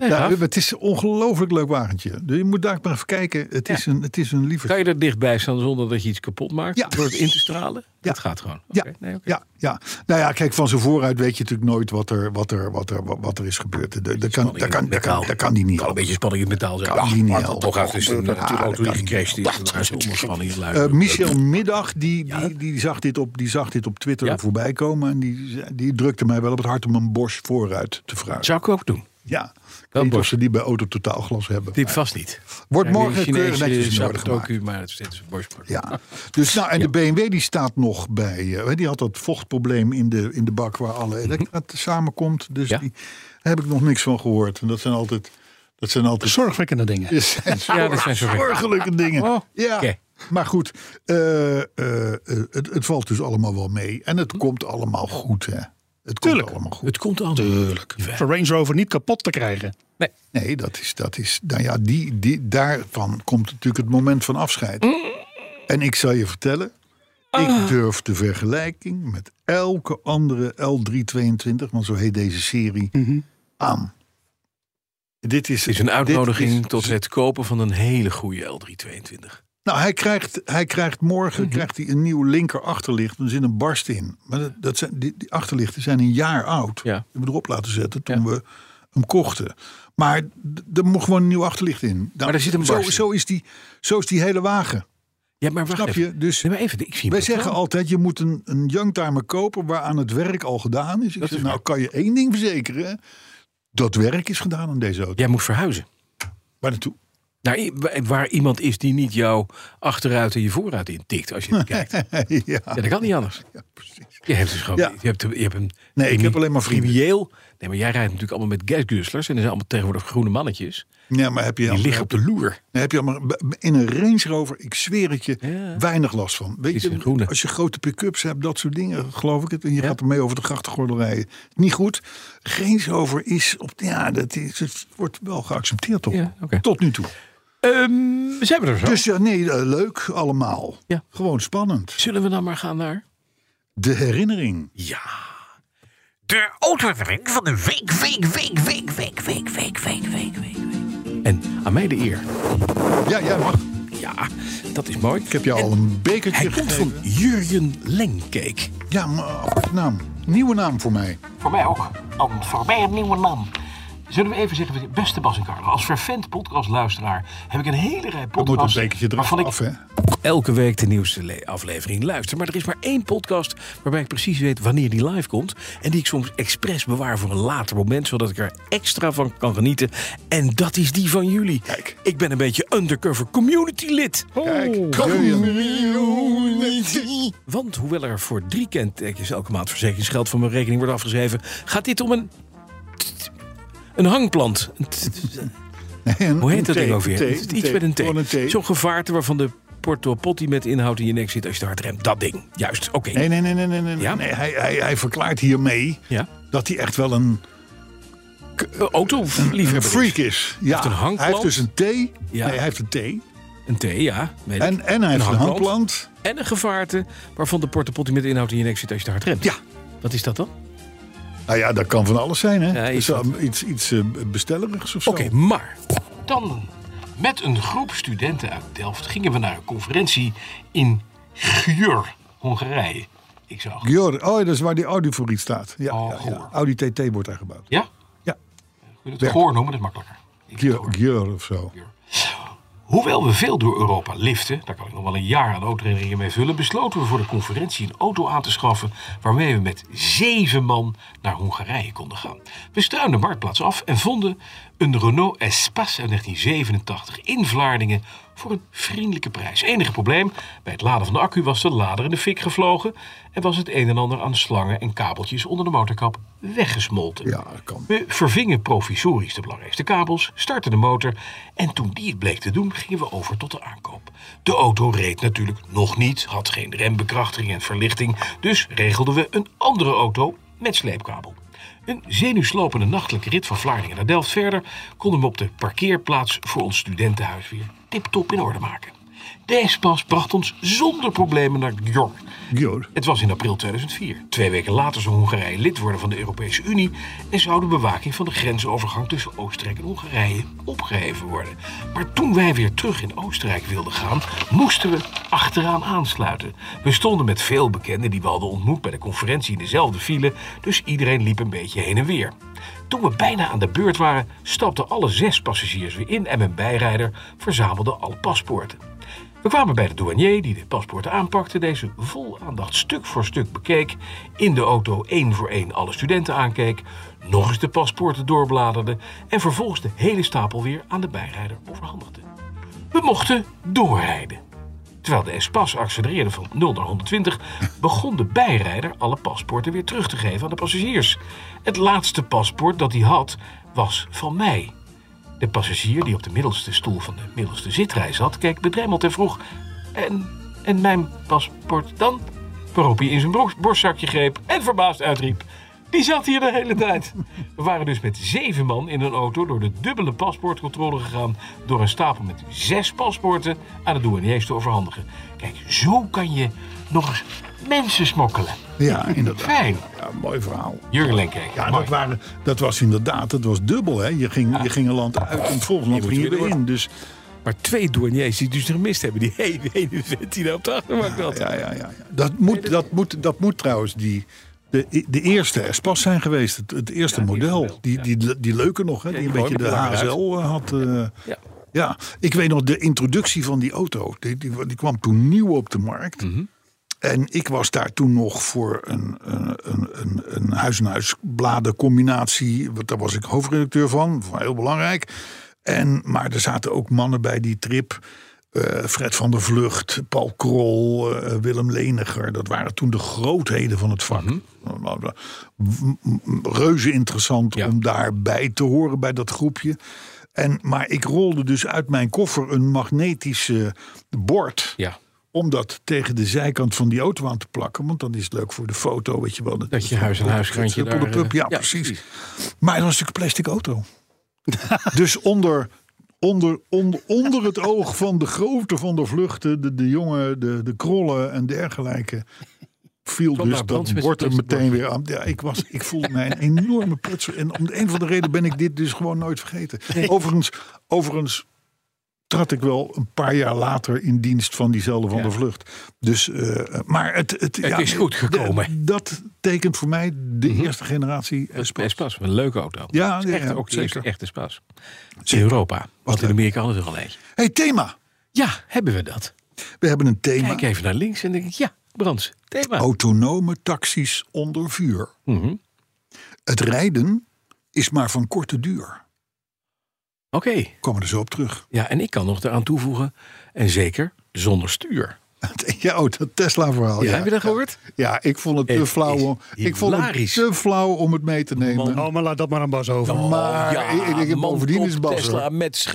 Nee, Ja, gaaf. het is een ongelooflijk leuk wagentje. Dus je moet daar maar even kijken. Het is een, het is een liever. Kan je er dichtbij staan zonder dat je iets kapot maakt? Ja. Door het in te stralen? Dat gaat gewoon. Ja, Oké, nee, oké. ja, ja. Nou ja, kijk, van zijn vooruit weet je natuurlijk nooit wat er, wat er, wat er, wat er is gebeurd. Dat kan, dat kan, dat kan, dat kan die niet. Kan een beetje spanning in het metaal zijn. Kan die niet maar helpen. Toch heeft dus een Ja, dat auto die kan niet. gecrashed is. en Daar is onder spanning Eh, luisteren. Michel Middag, die, die, die, zag dit op, die zag dit op Twitter Ja. voorbij komen. En die, zei- die drukte mij wel op het hart om een Bosch vooruit te vragen. Zou ik ook doen. Ja, ik Wel weet niet of Bosch. ze die bij Auto Totaalglas hebben. Dit vast niet. Wordt morgen keurig Chinese netjes in orde gemaakt. Sapotoku, maar het is net een borstpak. Ja, dus nou, en de BMW die staat nog bij. eh, die had dat vochtprobleem in de, in de bak waar alle elektra samenkomt. Dus Mhm. Ja. die, daar heb ik nog niks van gehoord. En dat zijn altijd. Dat zijn altijd Zorgwekkende dingen. dat zijn Ja, dat zijn zorgen. zorgelijke dingen. Oh, ja. oké. Maar goed, eh, eh, eh, het, het valt dus allemaal wel mee. En Mhm. het komt allemaal goed, hè? Het Tuurlijk. komt allemaal goed. Het komt aan. Tuurlijk. Voor Range Rover niet kapot te krijgen. Nee. Nee, dat is, dat is. Nou ja, die, die, daarvan komt natuurlijk het moment van afscheid. En ik zal je vertellen. Ah. Ik durf de vergelijking met elke andere L322, want zo heet deze serie, aan. Dit is, Mhm. Het is een uitnodiging dit is- tot het kopen van een hele goede L322. nou, hij krijgt, hij krijgt morgen Mhm. krijgt hij een nieuw linker achterlicht. Er zit een barst in. Maar dat, dat zijn, die, die achterlichten zijn een jaar oud. Ja. Die hebben we erop laten zetten toen Ja. we hem kochten. Maar d- er mocht gewoon een nieuw achterlicht in. Nou, Maar daar zit een zo, barst in. zo, is die, zo is die hele wagen. Ja, maar wacht Snap even. je? Dus Nee, maar even, ik zie wij hem zeggen wel. altijd, je moet een, een youngtimer kopen... waaraan het werk al gedaan is. Ik zeg, is nou, waar. kan je één ding verzekeren. hè? Dat werk is gedaan aan deze auto. Jij moet verhuizen. Waar naartoe? Naar, i- wa- waar iemand is die niet jou achteruit en je vooruit intikt als je het kijkt. Ja, ja. dat kan niet anders. ja, precies. Je hebt dus gewoon. Ja. Je hebt, je hebt een. Nee, ik heb alleen maar vrienden. Crimineel. Nee, maar jij rijdt natuurlijk allemaal met gasguzzlers. En er zijn allemaal tegenwoordig groene mannetjes. Ja, maar heb je Die liggen op de loer. Dan heb je allemaal, b- b- in een Range Rover, ik zweer het je, Ja. weinig last van. Weet Is een je, groene. als je grote pick-ups hebt, dat soort dingen, geloof ik het. En je Ja. gaat ermee over de grachtengordel rijden. Niet goed. Range Rover is, op, ja, dat is, het wordt wel geaccepteerd toch? Ja, oké. Tot nu toe. Ehm, zijn we er zo? Dus ja, nee, eh, leuk allemaal. Ja. Gewoon spannend. Zullen we dan maar gaan naar. De herinnering. Ja. De autoring van de week, week, week, week, week, week, week, week, week, week. En aan mij de eer. Ja, jij mag. Ja, dat is mooi. Ik heb jou al een bekertje Hij komt gegeven. van Jurjen Lengkeek. Ja, maar, oh, naam. Nieuwe naam voor mij. Voor mij ook. An, voor mij een nieuwe naam. Zullen we even zeggen, beste Bas en Carlo, als vervent podcastluisteraar heb ik een hele rij Dat moet een podcasts bekertje eraf waarvan ik Oh. af, hè? elke week de nieuwste le- aflevering luister. Maar er is maar één podcast waarbij ik precies weet wanneer die live komt. En die ik soms expres bewaar voor een later moment, zodat ik er extra van kan genieten. En dat is die van jullie. Kijk. Ik ben een beetje undercover community lid. Kijk, Jurjen. Want hoewel er voor drie kentekens elke maand verzekeringsgeld van mijn rekening wordt afgeschreven, gaat dit om een. Een hangplant. Een t- t- Nee, een- Hoe een heet dat thee, ding ook weer? thee, Het is Iets met een Gewoon T. Zo'n gevaarte waarvan de porto potty met inhoud in je nek zit als je te hard remt. Dat ding. Juist. Oké. Nee, nee, nee, nee, nee. nee. Ja? nee hij, hij, hij verklaart hiermee Ja. dat hij echt wel een, Een auto dus. een liever freak is. Ja. een hangplant. hij heeft dus een thee. Ja. Nee, hij heeft een thee. Een T, ja. weet ik. En, en hij heeft een hangplant. En een gevaarte waarvan de porto potty met inhoud in je nek zit als je te hard remt. Ja. Wat is dat dan? Nou ja, dat kan van alles zijn, hè? Ja, Dus is dat. dan iets iets eh, bestellerigs of zo. Oké, maar. Dan met een groep studenten uit Delft gingen we naar een conferentie in Gjur, Hongarije. Ik zag. Gjor, oh, dat is waar die Audi voor iets staat. Ja, Oh, ja, ja. goor. Audi TT wordt daar gebouwd. Ja? Ja. Kun je het Bert. Goor noemen, dat is makkelijker. Ik Gjor, hoor. Gjor of zo. Hoewel we veel door Europa liften, daar kan ik nog wel een jaar aan autoherinneringen mee vullen, besloten we voor de conferentie een auto aan te schaffen waarmee we met zeven man naar Hongarije konden gaan. We struinen de marktplaats af en vonden een Renault Espace uit 1987 in Vlaardingen voor een vriendelijke prijs. Enige probleem, bij het laden van de accu was de lader in de fik gevlogen en was het een en ander aan slangen en kabeltjes onder de motorkap weggesmolten. Ja, dat kan. We vervingen provisorisch de belangrijkste kabels, startten de motor en toen die het bleek te doen, gingen we over tot de aankoop. De auto reed natuurlijk nog niet, had geen rembekrachtiging en verlichting, dus regelden we een andere auto met sleepkabel. Een zenuwslopende nachtelijke rit van Vlaardingen naar Delft verder konden we op de parkeerplaats voor ons studentenhuis weer tip-top in orde maken. Deze pas bracht ons zonder problemen naar York. Joh. Het was in april 2004. Twee weken later zou Hongarije lid worden van de Europese Unie en zou de bewaking van de grensovergang tussen Oostenrijk en Hongarije opgeheven worden. Maar toen wij weer terug in Oostenrijk wilden gaan, moesten we achteraan aansluiten. We stonden met veel bekenden die we hadden ontmoet bij de conferentie in dezelfde file, dus iedereen liep een beetje heen en weer. Toen we bijna aan de beurt waren, stapten alle zes passagiers weer in en mijn bijrijder verzamelde alle paspoorten. We kwamen bij de douanier die de paspoorten aanpakte, deze vol aandacht stuk voor stuk bekeek, in de auto één voor één alle studenten aankeek, nog eens de paspoorten doorbladerde en vervolgens de hele stapel weer aan de bijrijder overhandigde. We mochten doorrijden. Terwijl de S-pas accelereerde van 0 naar 120, begon de bijrijder alle paspoorten weer terug te geven aan de passagiers. Het laatste paspoort dat hij had, was van mij. De passagier die op de middelste stoel van de middelste zitrij zat, keek bedremmeld en vroeg: En, en mijn paspoort dan? Waarop hij in zijn broek- borstzakje greep en verbaasd uitriep: Die zat hier de hele tijd. We waren dus met zeven man in een auto door de dubbele paspoortcontrole gegaan. door een stapel met zes paspoorten aan de douaniers te overhandigen. Kijk, zo kan je nog eens mensen smokkelen. Ja, inderdaad. Fijn. Ja, mooi verhaal. Jurgen Lenkijk. Ja, mooi. dat, waren, dat was inderdaad, dat was dubbel. Hè. Je, ging, je ging een land uit en volgens land moet ging je weer weer door. in. Dus Maar twee douaniers die het dus gemist hebben. Die hele ene vent die daar nou op de achterbank zat. ja, ja, ja. ja. Dat, moet, dat, moet, dat moet trouwens die, de, de eerste Espas zijn geweest. Het, het eerste model. die, die, die leuke nog, hè, die een die beetje de mooi met de lange HSL had. eh, Ja. Ja, ik weet nog de introductie van die auto. Die, die, die kwam toen nieuw op de markt. En ik was daar toen nog voor een, een, een, een, een huis-en-huis bladencombinatie. want Daar was ik hoofdredacteur van, van heel belangrijk. En, maar er zaten ook mannen bij die trip. eh, Fred van der Vlucht, Paul Krol, eh, Willem Leniger. Dat waren toen de grootheden van het vak. Reuze interessant Ja. om daarbij te horen bij dat groepje. En, maar ik rolde dus uit mijn koffer een magnetische bord. Ja. Om dat tegen de zijkant van die auto aan te plakken. Want dan is het leuk voor de foto, weet je wel. Dat je huis- en huiskrantje Triple de daar, pup, eh, Ja, ja, precies. precies. Maar dat was natuurlijk een plastic auto. dus onder, onder, onder, onder het oog van de grootte van de vluchten... de, de jongen, de, de krollen en dergelijke... viel Kwam dus daar dat brand- bord er met- met- meteen weer aan. Ja, ik, was, ik voelde mij een enorme prutser. En om de een van de reden ben ik dit dus gewoon nooit vergeten. Overigens, overigens trad ik wel een paar jaar later in dienst van diezelfde van der Vlucht. Dus, eh, maar het, het, ja, is goed gekomen. Mhm. d- dat tekent voor mij de eerste generatie Espas. Espas, een leuke auto. Ja, Het is echt, ja, ook de zeker. eerste echte Espas. In Europa. Want in leuk. Amerika hadden ze er al eentje. Hey, thema. Ja, hebben we dat. We hebben een thema. Kijk even naar links en denk ik, ja, Brands, thema. Oh. Autonome taxis onder vuur. Mhm. Het rijden is maar van korte duur. Oké. Komen we er zo op terug. Ja, en ik kan nog eraan toevoegen. En zeker zonder stuur. Ja, oh, dat Tesla-verhaal. Ja, Heb je dat gehoord? Ja, ik vond het te Het flauw. is om- Ik vond het hilarisch. te flauw om het mee te nemen. Oh, maar laat dat maar aan Bas over. maar Oh, ik, ik heb Oh, man bovendien op is Bas. Tesla hoor. met zijn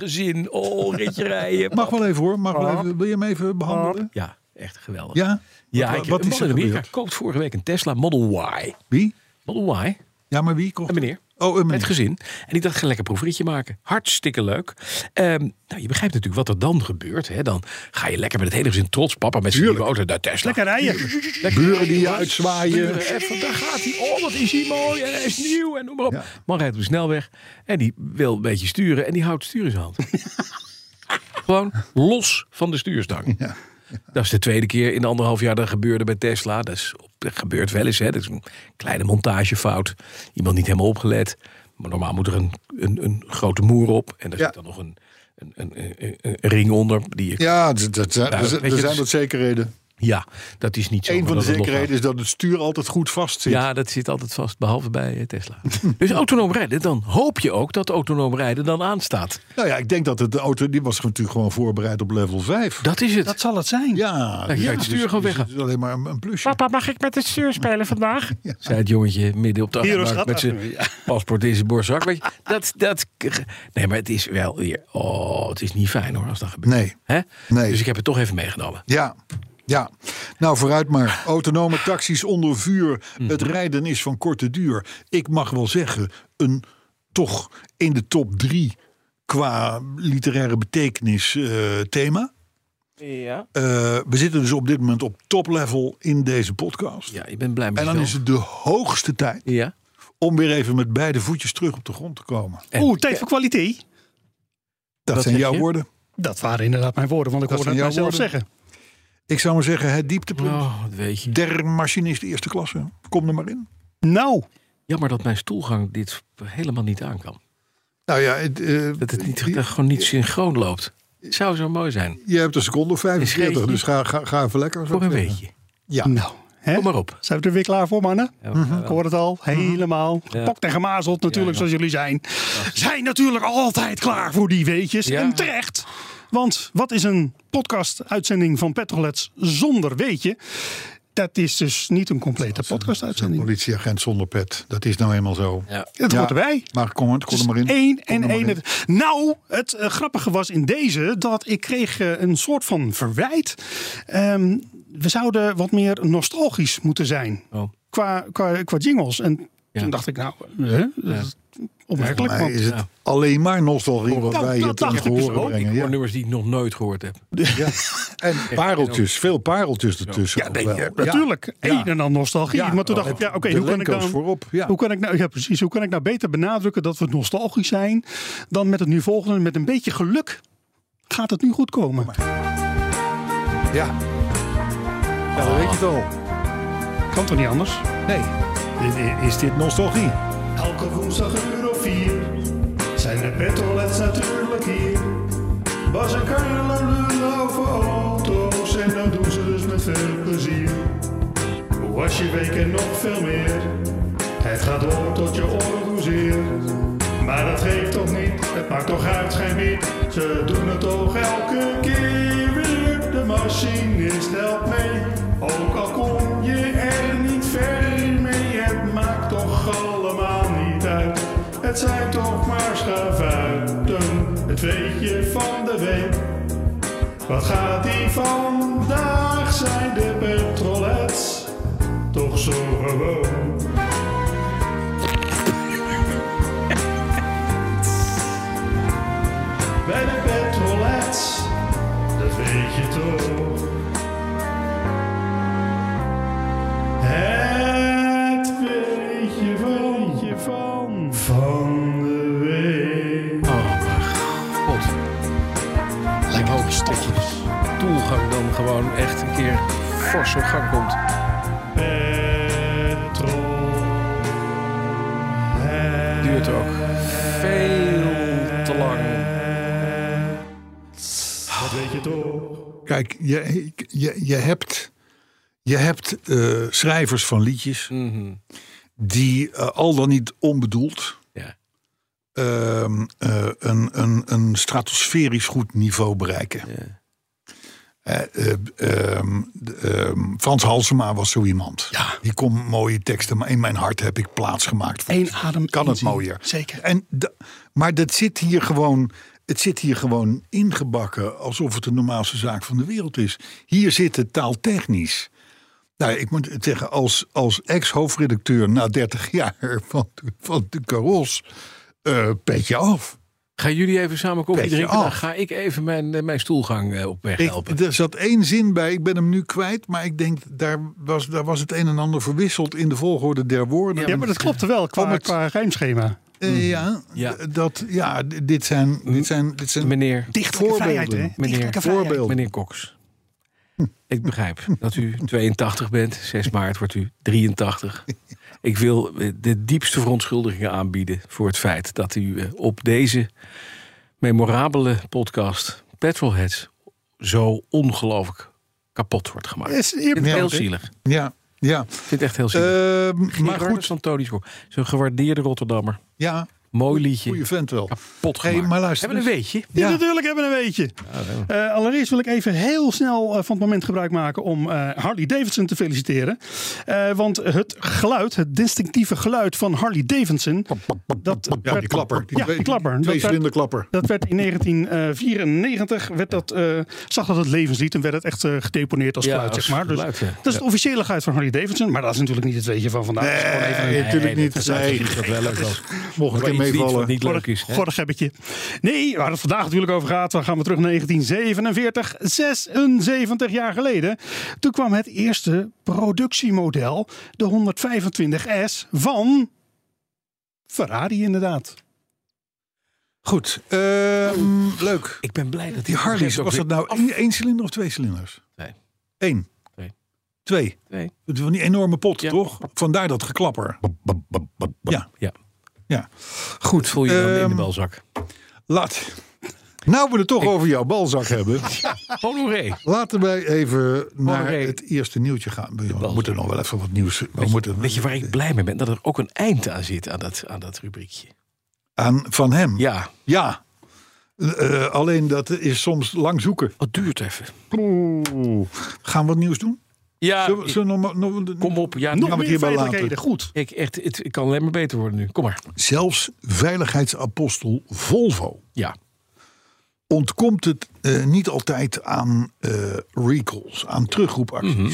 gezin. Oh, ritje rijden. Mag wel even hoor. Mag wel even, wil je hem even behandelen? Ja, echt geweldig. Ja? Ja, Wat- ik, wat een is er man in Amerika gebeurd? koopt vorige week een Tesla Model Y. Wie? Model Y, Ja, maar wie? Kocht een meneer. Oh, een Met meneer. gezin. En ik dacht, ga lekker proefritje maken. Hartstikke leuk. Ehm, nou, je begrijpt natuurlijk wat er dan gebeurt. Hè? Dan ga je lekker met het hele gezin trots. Papa met zijn nieuwe auto naar Tesla. Lekker rijden. Lekker Buren die je jongens. uitzwaaien. Buren, even, daar gaat hij. Oh, wat is hij mooi. En hij is nieuw. En noem maar op. Ja. Man rijdt op de snelweg. En die wil een beetje sturen. En die houdt het stuur in zijn hand. Gewoon los van de stuurstang. Ja. Dat is de tweede keer in anderhalf jaar dat gebeurde bij Tesla. Dat, is, op- dat gebeurt wel eens. Hè. Dat is een kleine montagefout. Iemand niet helemaal opgelet. Maar normaal moet er een, een, een grote moer op. En daar Ja. zit dan nog een, een, een, een, een ring onder. Die je, ja. Ja, dat, dat, zijn- Nou, er zijn- weet je, er het zijn is- wat zekerheden. dat is niet zo. Een van de dat het losgaat. zekerheden is dat het stuur altijd goed vast zit. Ja, dat zit altijd vast, behalve bij eh, Tesla. dus autonoom rijden, dan hoop je ook dat autonoom rijden dan aanstaat. Nou ja, ik denk dat het, de auto, die was natuurlijk gewoon voorbereid op level 5. Dat is het. Dat zal het zijn. ja, je ja, het stuur gewoon weg. Het is alleen maar een, een plusje. Papa, mag ik met het stuur spelen vandaag? Zei het jongetje midden op de Hier, achterbank schat. met zijn paspoort in zijn borstzak. Weet je, dat, dat, nee, maar het is wel weer... Oh, het is niet fijn hoor, als dat gebeurt. Nee. Hè? Nee. Dus ik heb het toch even meegenomen. Ja, ja. Nou, vooruit maar. Autonome taxis onder vuur. Het rijden is van korte duur. Ik mag wel zeggen, een toch in de top drie qua literaire betekenis eh, thema. Ja. Eh, we zitten dus op dit moment op toplevel in deze podcast. ja, ik ben blij met En dan jezelf. is het de hoogste tijd Ja. om weer even met beide voetjes terug op de grond te komen. Oeh, tijd voor kwaliteit. Dat Wat zijn zeg jouw je? woorden. Dat waren inderdaad mijn woorden, want ik Dat hoorde het zijn jouw mijzelf zeggen. Ik zou maar zeggen, het dieptepunt. Oh, dat weet je. Der machinist eerste klasse. Kom er maar in. Nou, Jammer dat mijn stoelgang dit helemaal niet aan kan. Nou ja, het, eh, Dat het niet, je- dat gewoon niet synchroon loopt. Zou zo mooi zijn. je hebt een seconde of Een 45, scheetje. dus ga, ga, ga even lekker. Voor een zeggen. weetje. Ja. nou. Hè? Kom maar op. Zijn we er weer klaar voor, mannen? Ja, we gaan Ik wel. hoor het al, helemaal. Ja. Pokt en gemazeld natuurlijk, Ja, ja. zoals jullie zijn. Zijn natuurlijk altijd klaar voor die weetjes. Ja. En terecht. Want wat is een podcast-uitzending van Petrolets zonder weetje? Dat is dus niet een complete Een podcast-uitzending. politieagent zonder pet. Dat is nou eenmaal zo. Ja. Dat hoort erbij. Maar kom, het, kom er maar in. Eén Kom en er maar één. in. Nou, het eh, grappige was in deze dat ik kreeg eh, een soort van verwijt. Ehm, we zouden wat meer nostalgisch moeten zijn Oh. qua, qua, qua jingles. En Ja. toen dacht ik, nou, hè, dat is opmerkelijk. Voor mij want- is het alleen maar nostalgie wat Nou, wij dat hier dacht ten ik dus gehore Ook, ik brengen. hoor Ja. nummers die ik nog nooit gehoord heb. Ja. En pareltjes, veel pareltjes ertussen. ja, ook nee, wel. ja, natuurlijk. Eén en dan nostalgie. Ja, maar toen wel, dacht ik, ja, oké, de hoe kan ik Lenko's dan... voorop. Ja. Hoe kan ik nou, ja, precies. Hoe kan ik nou beter benadrukken dat we nostalgisch zijn dan met het nu volgende? Met een beetje geluk gaat het nu goed komen. Ja. Ja, dat weet je het al. Oh. Kan toch niet anders? Nee. I- i- Is dit nostalgie? Elke woensdag een uur of vier zijn de petrolets natuurlijk hier. Bas en Carlo lullen over auto's en dat doen ze dus met veel plezier. Hoe was je week en nog veel meer? Het gaat door tot je oren hoezeer. Maar dat geeft toch niet, het maakt toch uit geen bied. Ze doen het toch elke keer weer. De machinist helpt mee, ook al kom je er niet verder mee. Het maakt toch allemaal niet uit. Het zijn toch maar schavuiten, het weetje van de week. Wat gaat die vandaag zijn de petrolets? Toch zo gewoon. Bij de petrolets, dat weet je toch. Het weet je van, je van, van de week. God. Ik hoop dat je stoelgang dan gewoon echt een keer fors op gang komt. Duurt er ook veel te lang. Kijk, je, je, je hebt, je hebt eh, schrijvers van liedjes die eh, al dan niet onbedoeld Ja. ehm, eh, een, een, een stratosferisch goed niveau bereiken. Eh, eh, ehm, de, ehm, Frans Halsema was zo iemand. Die kon mooie teksten, maar in mijn hart heb ik plaats gemaakt. voor Eén adem. kan het inzien. mooier. Zeker. En da- maar dat zit hier gewoon, het zit hier gewoon ingebakken alsof het de normaalste zaak van de wereld is. Hier zit het taaltechnisch. Nou, ik moet zeggen, als, als ex-hoofdredacteur na 30 jaar van, de- van de Caros, eh petje af. Gaan jullie even samen koffie Petje drinken? Dan af. ga ik even mijn, eh, mijn stoelgang eh, op weg helpen. Ik, er zat één zin bij, ik ben hem nu kwijt, maar ik denk, daar was, daar was het een en ander verwisseld in de volgorde der woorden. Ja, maar dat klopte wel Om qua, het- qua rijmschema. Eh, ja, Ja. d- Dat, ja, d- dit zijn, dit zijn, dit zijn Meneer, Dichtelijke vrijheid, hè? Meneer, Dichtelijke vrijheid. voorbeelden. meneer Cox. Hm. Ik begrijp dat u 82 bent. 6 maart wordt u 83. Ik wil eh, de diepste verontschuldigingen aanbieden voor het feit dat u eh, op deze memorabele podcast Petrolheads zo ongelooflijk kapot wordt gemaakt. Ik Is eer- vind het heel oké. zielig. Ik Ja, ja. vind het echt heel zielig. Ehm, maar maar goed, goed, van Tony Schor. Zo'n gewaardeerde Rotterdammer. ja. Mooi liedje. Goeie vent wel. Pot Hey, gemaakt. maar luister dus- Hebben we een weetje? Ja, natuurlijk hebben we een weetje. Eh, allereerst wil ik even heel snel eh, van het moment gebruik maken om eh, Harley Davidson te feliciteren. Eh, want het geluid, het distinctieve geluid van Harley Davidson. Dat Ja, die klapper. ja, die klapper. Dat Twee werd- cilinderklapper. Dat werd in 1994, werd dat, eh, zag dat het levenslied en werd het echt eh, gedeponeerd als Ja, geluid, als zeg maar. Dus geluid, ja. Dat is het officiële geluid van Harley Davidson, maar dat is natuurlijk niet het weetje van vandaag. Dat is gewoon even een Nee, natuurlijk Nee, niet. dat is Nee, eigenlijk niet wat wel leuk was. mocht ik Maar hem iets niet wat meevallen. niet leuk is. hè? Gordig hebbetje. Nee, waar het vandaag natuurlijk over gaat, dan gaan we terug naar 1947, 76 jaar geleden. Toen kwam het eerste productiemodel, de 125S van Ferrari inderdaad. Goed, ehm, leuk. Ik ben blij dat Die Harley's, was dat nou één, één cilinder of twee cilinders? Nee. Eén. Nee. Twee. Nee. Het Van die enorme pot, Ja. toch? Vandaar dat geklapper. Ja. Ja. Ja. Goed, voel je dan in Ehm, de balzak. Laat. Nou we het toch over jouw balzak hebben. Honoré. Laten wij even naar Honoré. het eerste nieuwtje gaan. We balzak. moeten nog wel even wat nieuws. We moeten Weet je waar ik blij mee ben? Dat er ook een eind aan zit aan dat, aan dat rubriekje. aan van hem. Ja, Ja. Eh, eh, alleen dat is soms lang zoeken. wat duurt even. Gaan we wat nieuws doen? Ja, Zullen we, zullen we nog, maar- nog- kom op. Ja, Nog nu- maar meer hierbij laten. feitelijkheden, goed. ik, echt, het, ik kan alleen maar beter worden nu. Kom maar. Zelfs veiligheidsapostel Volvo Ja. ontkomt het eh, niet altijd aan eh, recalls, aan terugroepacties. Mhm.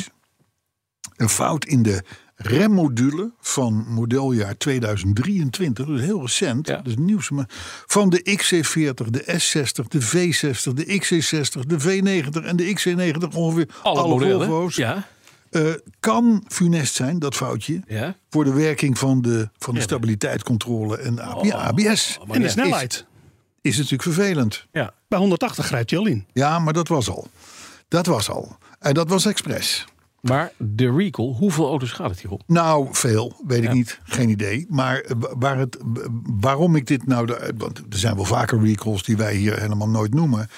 Een fout in de remmodule van modeljaar 2023, dus heel recent, Ja. dus nieuws, maar van de XC40, de S60, de V60, de XC60, de V90 en de XC90 ongeveer alle, Volvo's. Ja. Eh, kan funest zijn, dat foutje, ja. voor de werking van de, van de stabiliteitscontrole en AB- Oh, ABS. En de snelheid. Is natuurlijk vervelend. ja. Bij 180 grijpt hij al in. Ja, maar dat was al. Dat was al. En dat was expres. Maar de recall, hoeveel auto's gaat het hier om? Nou, veel, weet ik niet. Geen idee. Maar eh, wa- waar het, w- waarom ik dit nou... de- Want er zijn wel vaker recalls die wij hier helemaal nooit noemen.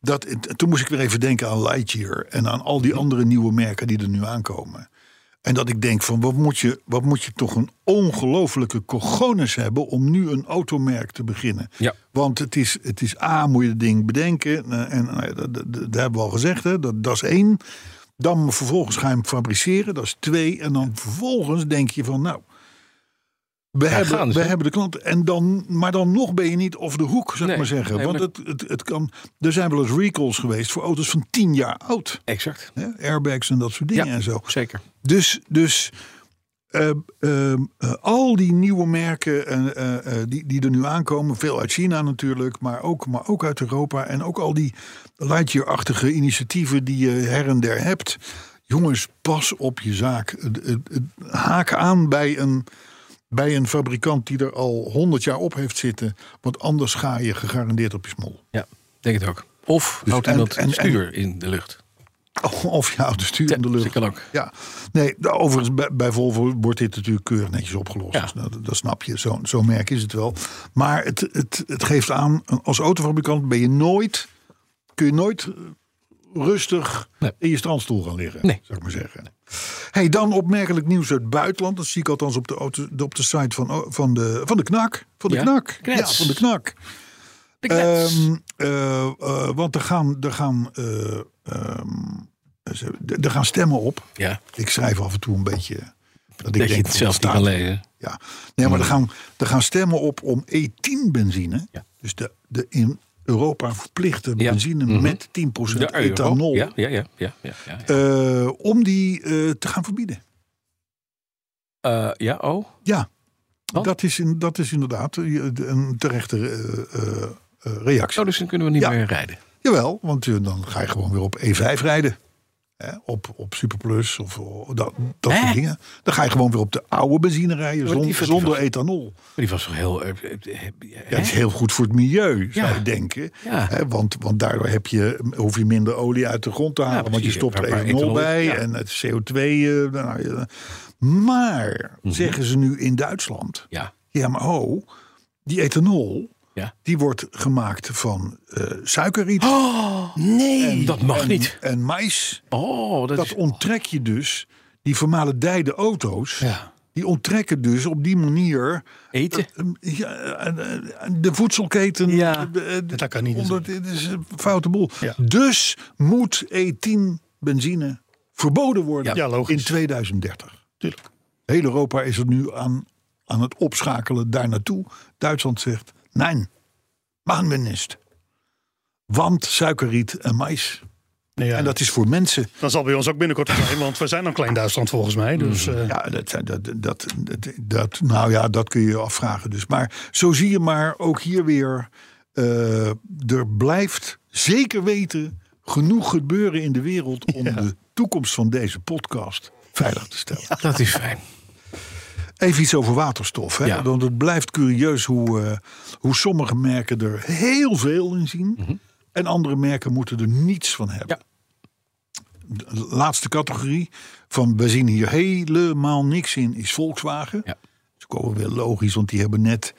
Dat, het- toen moest ik weer even denken aan Lightyear... en aan al die andere nieuwe merken die er nu aankomen. En dat ik denk van, wat moet je, wat moet je toch een ongelofelijke cojones hebben... om nu een automerk te beginnen. Ja. Want het is, het is A, moet je het ding bedenken. eh, En nou ja, dat, dat, dat hebben we al gezegd, hè, dat, dat is één. Dan vervolgens ga je hem fabriceren, dat is twee. En dan vervolgens denk je van, nou... We, gaan hebben, ze. we hebben de klant. En dan, maar dan nog ben je niet of de hoek, zou ik Nee, maar zeggen. nee, Want maar- het, het, het kan, er zijn wel eens recalls geweest voor auto's van tien jaar oud. Exact. Hè? Airbags en dat soort dingen en zo. Zeker. Dus, dus eh, ehm, eh, al die nieuwe merken eh, eh, eh, die, die er nu aankomen, veel uit China natuurlijk, maar ook, maar ook uit Europa en ook al die Lightyear-achtige initiatieven die je her en der hebt. Jongens, pas op je zaak. Eh, eh, eh, Haak aan bij een, bij een fabrikant die er al 100 jaar op heeft zitten, want anders ga je gegarandeerd op je smol. Ja, denk het ook. Of Dus houdt en- iemand en- en- stuur in de lucht. Of je houdt de stuur in de lucht. Dat kan ook. Ja, nee, nou, overigens bij, bij Volvo wordt dit natuurlijk keurig netjes opgelost. Ja. Dus nou, dat, dat snap je, zo'n zo merk is het wel. Maar het, het, het geeft aan, als autofabrikant ben je nooit, kun je nooit eh, rustig Nee. in je strandstoel gaan liggen. Nee. Zou ik maar zeggen. Hey, dan opmerkelijk nieuws uit het buitenland. Dat zie ik althans op de, auto, de- op de site van, oh, van, de, van de KNAK. Van de Ja? KNAK. Knets. Ja, van de KNAK. De klets. Ehm, eh, eh, want er gaan, er, gaan, eh, ehm, ze- er gaan stemmen op. ja, Ik schrijf af en toe een beetje. Dat, dat je denk, oh, het zelf niet staat kan er. lezen. Ja. Nee, maar er gaan, er gaan stemmen op om E10 benzine. Ja. Dus de, de in Europa verplichte Ja. benzine Mhm. met 10% De euro. ethanol. Ja, ja, ja. ja, ja, ja. eh, om die eh, te gaan verbieden. Eh, ja, oh. Ja, Wat? dat is, in, dat is inderdaad eh, een terechte eh, eh, eh, reactie. Zo, dus dan kunnen we niet Ja. meer rijden. Jawel, want eh, dan ga je gewoon weer op E5 rijden. Hè, op, op Superplus of eh, dat, dat Hè? soort dingen. Dan ga je gewoon weer op de oude benzine rijden Wordt die zon- ver- zonder ethanol. Maar die was toch heel... eh, eh, eh, Ja, hè? het is heel goed voor het milieu, Ja. zou je denken. Ja. Hè, want, want daardoor heb je, hoef je minder olie uit de grond te halen. want je precies. stopt er Waar- waar ethanol ethanol- bij ja. en het CO2. eh, nou, ja. Maar, Mhm. zeggen ze nu in Duitsland. Ja. Ja, maar oh, die ethanol, Ja. die wordt gemaakt van eh suikerriet En dat mag en, niet. en mais. Oh, dat, Dat is... onttrek je dus die vermalendijde auto's. Ja. die onttrekken dus op die manier Eten. eh, ja, eh, eh, de voedselketen. Ja, eh, eh, dat kan niet Onder, dit is een foute boel. Ja. Dus moet E10 benzine verboden worden Ja, logisch. in 2030. Tuurlijk. Heel Europa is er nu aan, aan het opschakelen daar naartoe. Duitsland zegt, nee, machen we niet. Want suikerriet en mais. Ja. En dat is voor mensen. Dan zal bij ons ook binnenkort zijn, want we zijn dan klein Duitsland volgens mij. Dus, eh, Ja, dat, dat, dat, dat, dat- nou ja, dat kun je je afvragen. Dus. Maar zo zie je maar ook hier weer. eh, er blijft zeker weten genoeg gebeuren in de wereld. om de toekomst van deze podcast veilig te stellen. Dat is fijn. Even iets over waterstof. Hè? Ja. Want het blijft curieus hoe, eh, hoe sommige merken er heel veel in zien. Mhm. En andere merken moeten er niets van hebben. De laatste categorie van we zien hier helemaal niks in is Volkswagen. Ja. Dat is ook wel weer logisch, want die hebben net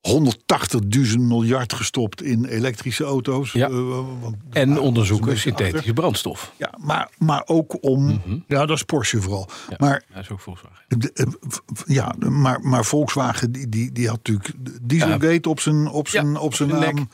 180.000 miljard gestopt in elektrische auto's. Ja. Eh, want- En een onderzoeken beetje synthetische brandstof. ja, maar, maar ook om, Mhm. ja, dat is Porsche vooral. Maar Dat is ook Volkswagen. de, eh, v- v- ja, maar, maar Volkswagen die, die, die had natuurlijk Dieselgate op zijn, op zijn, Ja, op zijn op naam. zijn nek.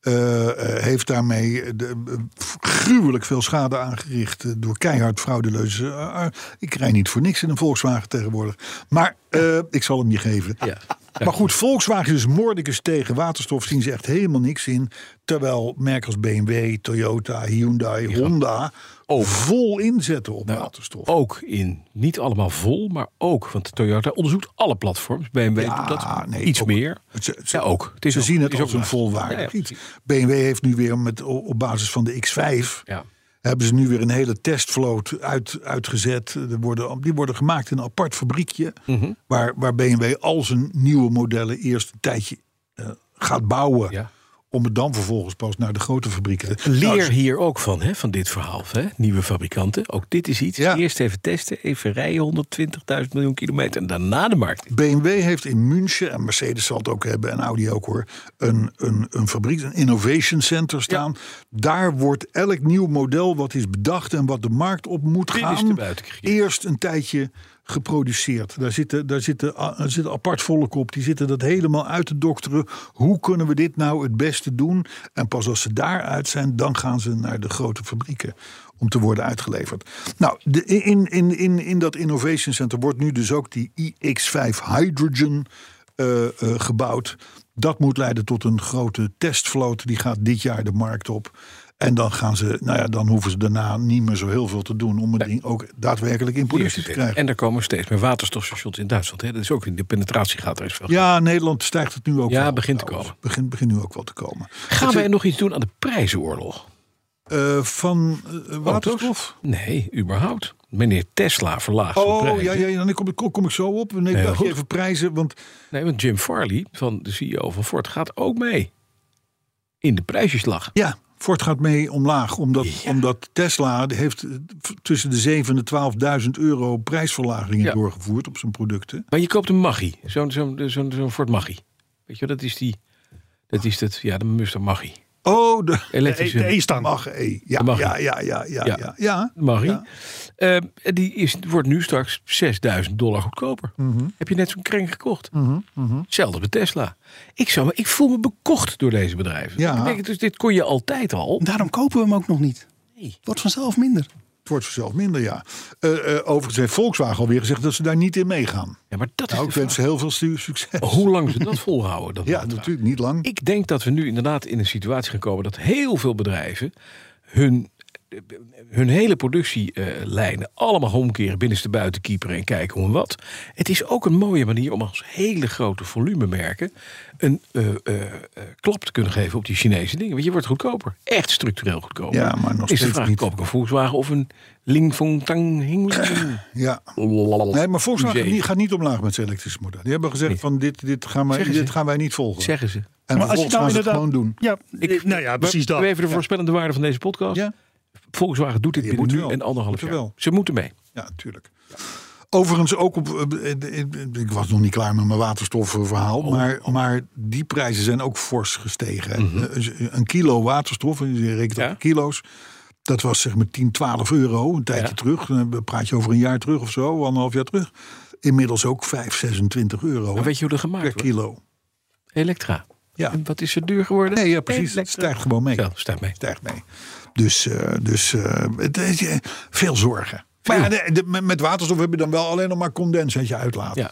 Eh, eh, heeft daarmee de, eh, gruwelijk veel schade aangericht eh, door keihard fraudeleuze. eh, eh, ik rij niet voor niks in een Volkswagen tegenwoordig. Maar eh, ik zal hem je geven. Ja. Maar goed, Volkswagen is moordicus tegen waterstof. Zien ze echt helemaal niks in. Terwijl merken als BMW, Toyota, Hyundai, Honda Oh. vol inzetten Nou. op waterstof. Ook in, niet allemaal vol, maar ook. Want Toyota onderzoekt alle platforms. BMW doet dat nee, iets ook- meer. Ze, ze- Ja, ook. Het is ze ook- zien het is als ook een waar. volwaardig Ja, ja, iets. precies. BMW heeft nu weer met, o- op basis van de X5... Ja. hebben ze nu weer een hele testvloot uit, uitgezet. Er worden, die worden gemaakt in een apart fabriekje... Mhm. waar, waar BMW al zijn nieuwe modellen eerst een tijdje eh, gaat bouwen... Ja. om het dan vervolgens pas naar de grote fabrieken te... Leer Nou, ze- hier ook van, hè, van dit verhaal. Hè? Nieuwe fabrikanten. Ook dit is iets. Ja. Eerst even testen, even rijden, 120.000 miljoen kilometer. En daarna de markt. BMW heeft in München, en Mercedes zal het ook hebben, en Audi ook hoor, een, een, een fabriek, een innovation center staan. Daar wordt elk nieuw model wat is bedacht en wat de markt op moet Dit is de gaan, buitenkant. eerst een tijdje geproduceerd. Daar zitten, daar, zitten, a- er zit apart volk op, die zitten dat helemaal uit te dokteren. Hoe kunnen we dit nou het beste doen? En pas als ze daaruit zijn, dan gaan ze naar de grote fabrieken om te worden uitgeleverd. Nou, de, in, in, in, in dat Innovation Center wordt nu dus ook die iX5 Hydrogen eh, eh, gebouwd. Dat moet leiden tot een grote testvloot. Die gaat dit jaar de markt op. En dan gaan ze, nou ja, dan hoeven ze daarna niet meer zo heel veel te doen om het ding ook daadwerkelijk in productie te krijgen. En er komen steeds meer waterstofstations in Duitsland. Hè? Dat is ook in de penetratie gaat er eens veel. Ja, Nederland stijgt het nu ook. Ja, wel, begint te trouwens. komen. Begint begint nu ook wel te komen. Gaan wij nog iets doen aan de prijzenoorlog? Eh, van Oh, eh, waterstof? Nee, überhaupt. Meneer Tesla verlaagt zijn Oh, prijzen. ja, ja, ja, dan kom ik, kom ik zo op. Nee, heel ik dacht goed. even prijzen, want Nee, want Jim Farley van de CEO van Ford gaat ook mee. In de prijsjeslag. Ja, Ford gaat mee omlaag. Omdat, omdat Tesla heeft eh, v- tussen de 7 en de 12.000 euro prijsverlagingen Ja. doorgevoerd op zijn producten. Maar je koopt een Maggie. Zo'n zo'n zo'n zo'n Ford Maggie. Weet je, wel, dat is die. Dat is dat, ja, de Mustang Maggie. Oh, de Elektrische de E-stang. mag E. Ja, De mag E. ja, ja, ja, ja, Ja. ja. ja. Maggie. e- Ja. Eh, die is, wordt nu straks 6000 dollar goedkoper. Mhm. Heb je net zo'n kring gekocht? Hetzelfde met Tesla. Ik, zou, me- ik voel me bekocht door deze bedrijven. Ja. Ik denk, dus dit kon je altijd al. Daarom kopen we hem ook nog niet. Nee. Wordt vanzelf minder. Het wordt vanzelf minder, ja. Eh, eh, overigens heeft Volkswagen alweer gezegd dat ze daar niet in meegaan. Ja, maar dat Nou, ik is de wens ze heel veel su- succes. vraag. Hoe lang ze dat volhouden? Dat Ja, is de vraag. natuurlijk niet lang. Ik denk dat we nu inderdaad in een situatie gaan komen dat heel veel bedrijven hun, hun hele productielijnen allemaal omkeren binnenste buiten kieperen en kijken hoe en wat. Het is ook een mooie manier om als hele grote volumemerken een eh, eh, eh, klap te kunnen geven op die Chinese dingen. Want je wordt goedkoper. Echt structureel goedkoper. Ja, maar nog is de steeds vraag, niet. koop ik een Volkswagen of een Lingfong Tang Hingling? Ja. Nee, maar Volkswagen Musee. die gaat niet omlaag met zijn elektrische model. Die hebben gezegd van dit, dit, gaan, wij, Zeggen dit ze. gaan wij niet volgen. Zeggen ze. En Maar als je vervolgens gaan nou ze het gewoon inderdaad- doen. Ja, eh, nou ja, precies We- dat. we Even de voorspellende waarde van deze podcast. Ja. Volkswagen doet dit Je binnen moet nu wel. en anderhalf Moet jaar. er wel. Ze moeten mee. Ja, natuurlijk. Overigens ook op. eh, eh, eh, Ik was nog niet klaar met mijn waterstofverhaal. Oh. Maar, maar die prijzen zijn ook fors gestegen. Mhm. Eh, Een kilo waterstof, en je rekent dat Ja. op kilo's. Dat was zeg maar 10, 12 euro een tijdje Ja. terug. Dan praat je over een jaar terug of zo, anderhalf jaar terug. inmiddels ook 5, 26 euro Maar weet je hoe er gemaakt per wordt? kilo. Elektra. Ja. En wat is er duur geworden? Nee, ja, precies. Het Elektra. stijgt gewoon mee. Zo, staat mee. Stijgt mee. Dus, eh, dus eh, het is, eh, veel zorgen. Maar ja, de- de- met- met waterstof heb je dan wel alleen nog maar condens dat je uitlaat. Ja.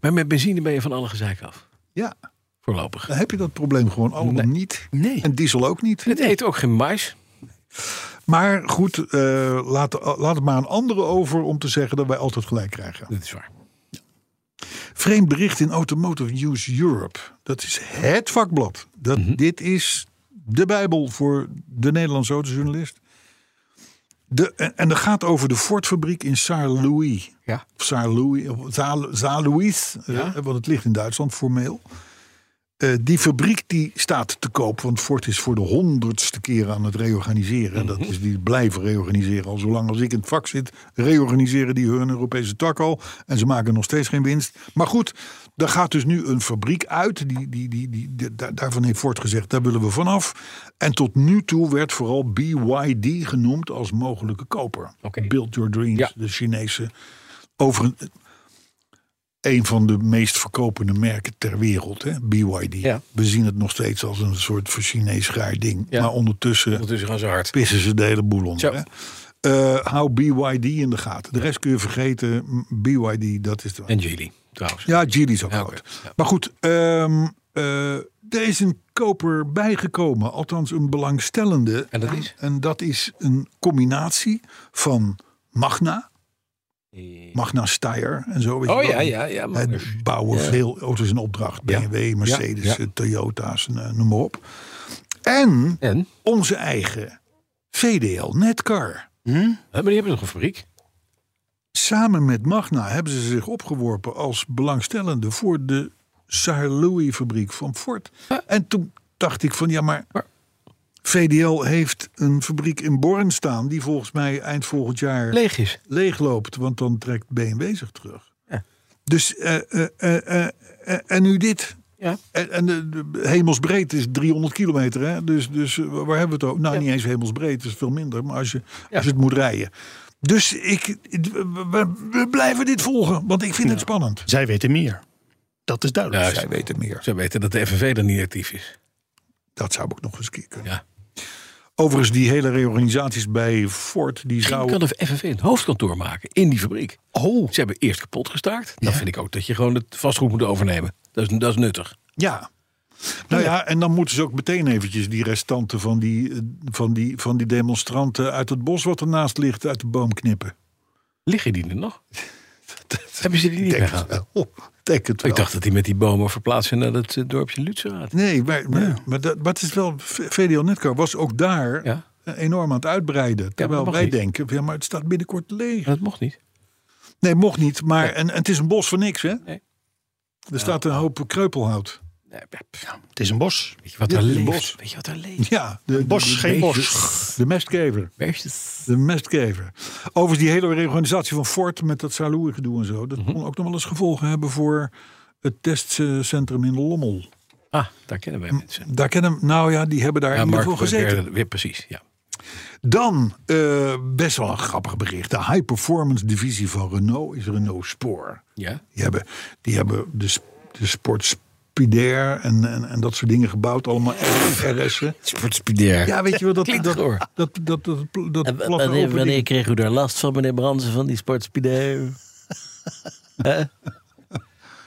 Maar met benzine ben je van alle gezeik af. Ja, Voorlopig. dan heb je dat probleem gewoon allemaal Nee. niet. Nee. En diesel ook niet. Het e- eet ook geen mais. Maar goed, eh, laat, laat het maar aan anderen over om te zeggen dat wij altijd gelijk krijgen. Dat is waar. Vreemd bericht in Automotive News Europe. Dat is het vakblad. Dat, Dit is de Bijbel voor de Nederlandse autojournalist. De, eh, en- en dat gaat over de Ford-fabriek in Saar-Louis. Ja. Saar-Louis, Saar-Louis, eh, want het ligt in Duitsland formeel. Eh, die fabriek die staat te koop, want Ford is voor de honderdste keer aan het reorganiseren. En Mhm. Dat is die blijven reorganiseren. Al zolang als ik in het vak zit, reorganiseren die hun Europese tak al. En ze maken nog steeds geen winst. Maar goed, daar gaat dus nu een fabriek uit. Die, die, die, die, die- daar- daarvan heeft Ford gezegd, daar willen we vanaf. En tot nu toe werd vooral BYD genoemd als mogelijke koper. Oké. Build Your Dreams, Ja. de Chinese. Over een van de meest verkopende merken ter wereld, hè? BYD. Ja. We zien het nog steeds als een soort voor Chinees gaar ding. Ja. Maar ondertussen Ondertussen dus gaan ze hard. pissen ze de hele boel Zo. onder. Hè? Eh, hou BYD in de gaten. De rest kun je vergeten. M, BYD, dat is de. En Geely, trouwens. Ja, Geely is ook Ja, groot. oké. Ja. Maar goed, ehm, eh, er is een koper bijgekomen. Althans, een belangstellende. En dat is? En dat is een combinatie van Magna. Magna Steyr en zo. weet je Eh. Oh wel. ja, ja, ja. Maar Hè, bouwen veel auto's in opdracht. Ja. BMW, Ja, Mercedes, ja. eh, Toyota's, eh, noem maar op. En En? onze eigen VDL Netcar. Maar die hebben nog een fabriek. Samen met Magna hebben ze zich opgeworpen als belangstellende voor de Saar-Louis-fabriek van Ford. En toen dacht ik van ja, maar VDL heeft een fabriek in Born staan die volgens mij eind volgend jaar Leeg is. leegloopt, want dan trekt BMW zich terug. Dus eh, eh, eh, eh, eh, en nu dit. Ja. En, en de, de hemelsbreed is 300 kilometer, hè? Dus, dus eh, waar hebben we het over? Nou, niet eens hemelsbreed, het is veel minder, maar als je, als je het moet rijden. Dus ik, het- we, we- we blijven dit volgen, want ik vind het spannend. Zij weten meer. Dat is duidelijk. Ja, Zij weten meer. Ze weten dat de FNV er niet actief is. Dat zou ik nog eens een keer kunnen. Ja. Overigens, die hele reorganisaties bij Ford, die Misschien zou... kan de FNV een hoofdkantoor maken in die fabriek. Oh. Ze hebben eerst kapot gestaakt. Dan vind ik ook dat je gewoon het vastgoed moet overnemen. Dat is, dat is nuttig. Ja. Nou ja, en dan moeten ze ook meteen eventjes die restanten van die, eh, van die, van die demonstranten uit het bos wat ernaast ligt uit de boom knippen. Liggen die er nog? hebben ze die niet Denk het weggehaald? wel. Denk het wel. Ik dacht dat die met die bomen verplaatsen naar dat eh, dorpje Lutzeraad. Nee, maar, maar, maar dat, maar het is wel. V- VDL Netcar was ook daar Ja. eh, enorm aan het uitbreiden. Terwijl mag wij niet. denken, ja, maar het staat binnenkort leeg. Maar dat mocht niet. Nee, mocht niet. Maar en, en het is een bos voor niks, hè? Nee. Er staat een hoop kreupelhout. Nee, pff, Het is een bos. Weet je wat Dit daar is een leeft? bos. Weet je wat daar leeft? Ja, de, Bos, de- de- geen bos. De mestkever. Beestjes. De mestkever. Overigens, die hele reorganisatie van Ford met dat Saloer gedoe en zo. Mhm. Dat kon ook nog wel eens gevolgen hebben voor het testcentrum in Lommel. Ah, daar kennen wij mensen. Daar kennen, nou ja, die hebben daar in ieder geval Mark gezeten. Werder- weer precies, ja. Dan, eh, best wel een grappig bericht. De high performance divisie van Renault is Renault Spoor. Ja. Die hebben, die hebben de, sp- de sport Spidair en, en, en dat soort dingen gebouwd. Allemaal RS'en. Sportspideer. Ja, weet je wel, dat, dat, Klinkt dat, goor. dat, dat, dat, dat En wa- platte wanneer, open wanneer ding. kreeg u daar last van, meneer Bransen, van die sportspideer?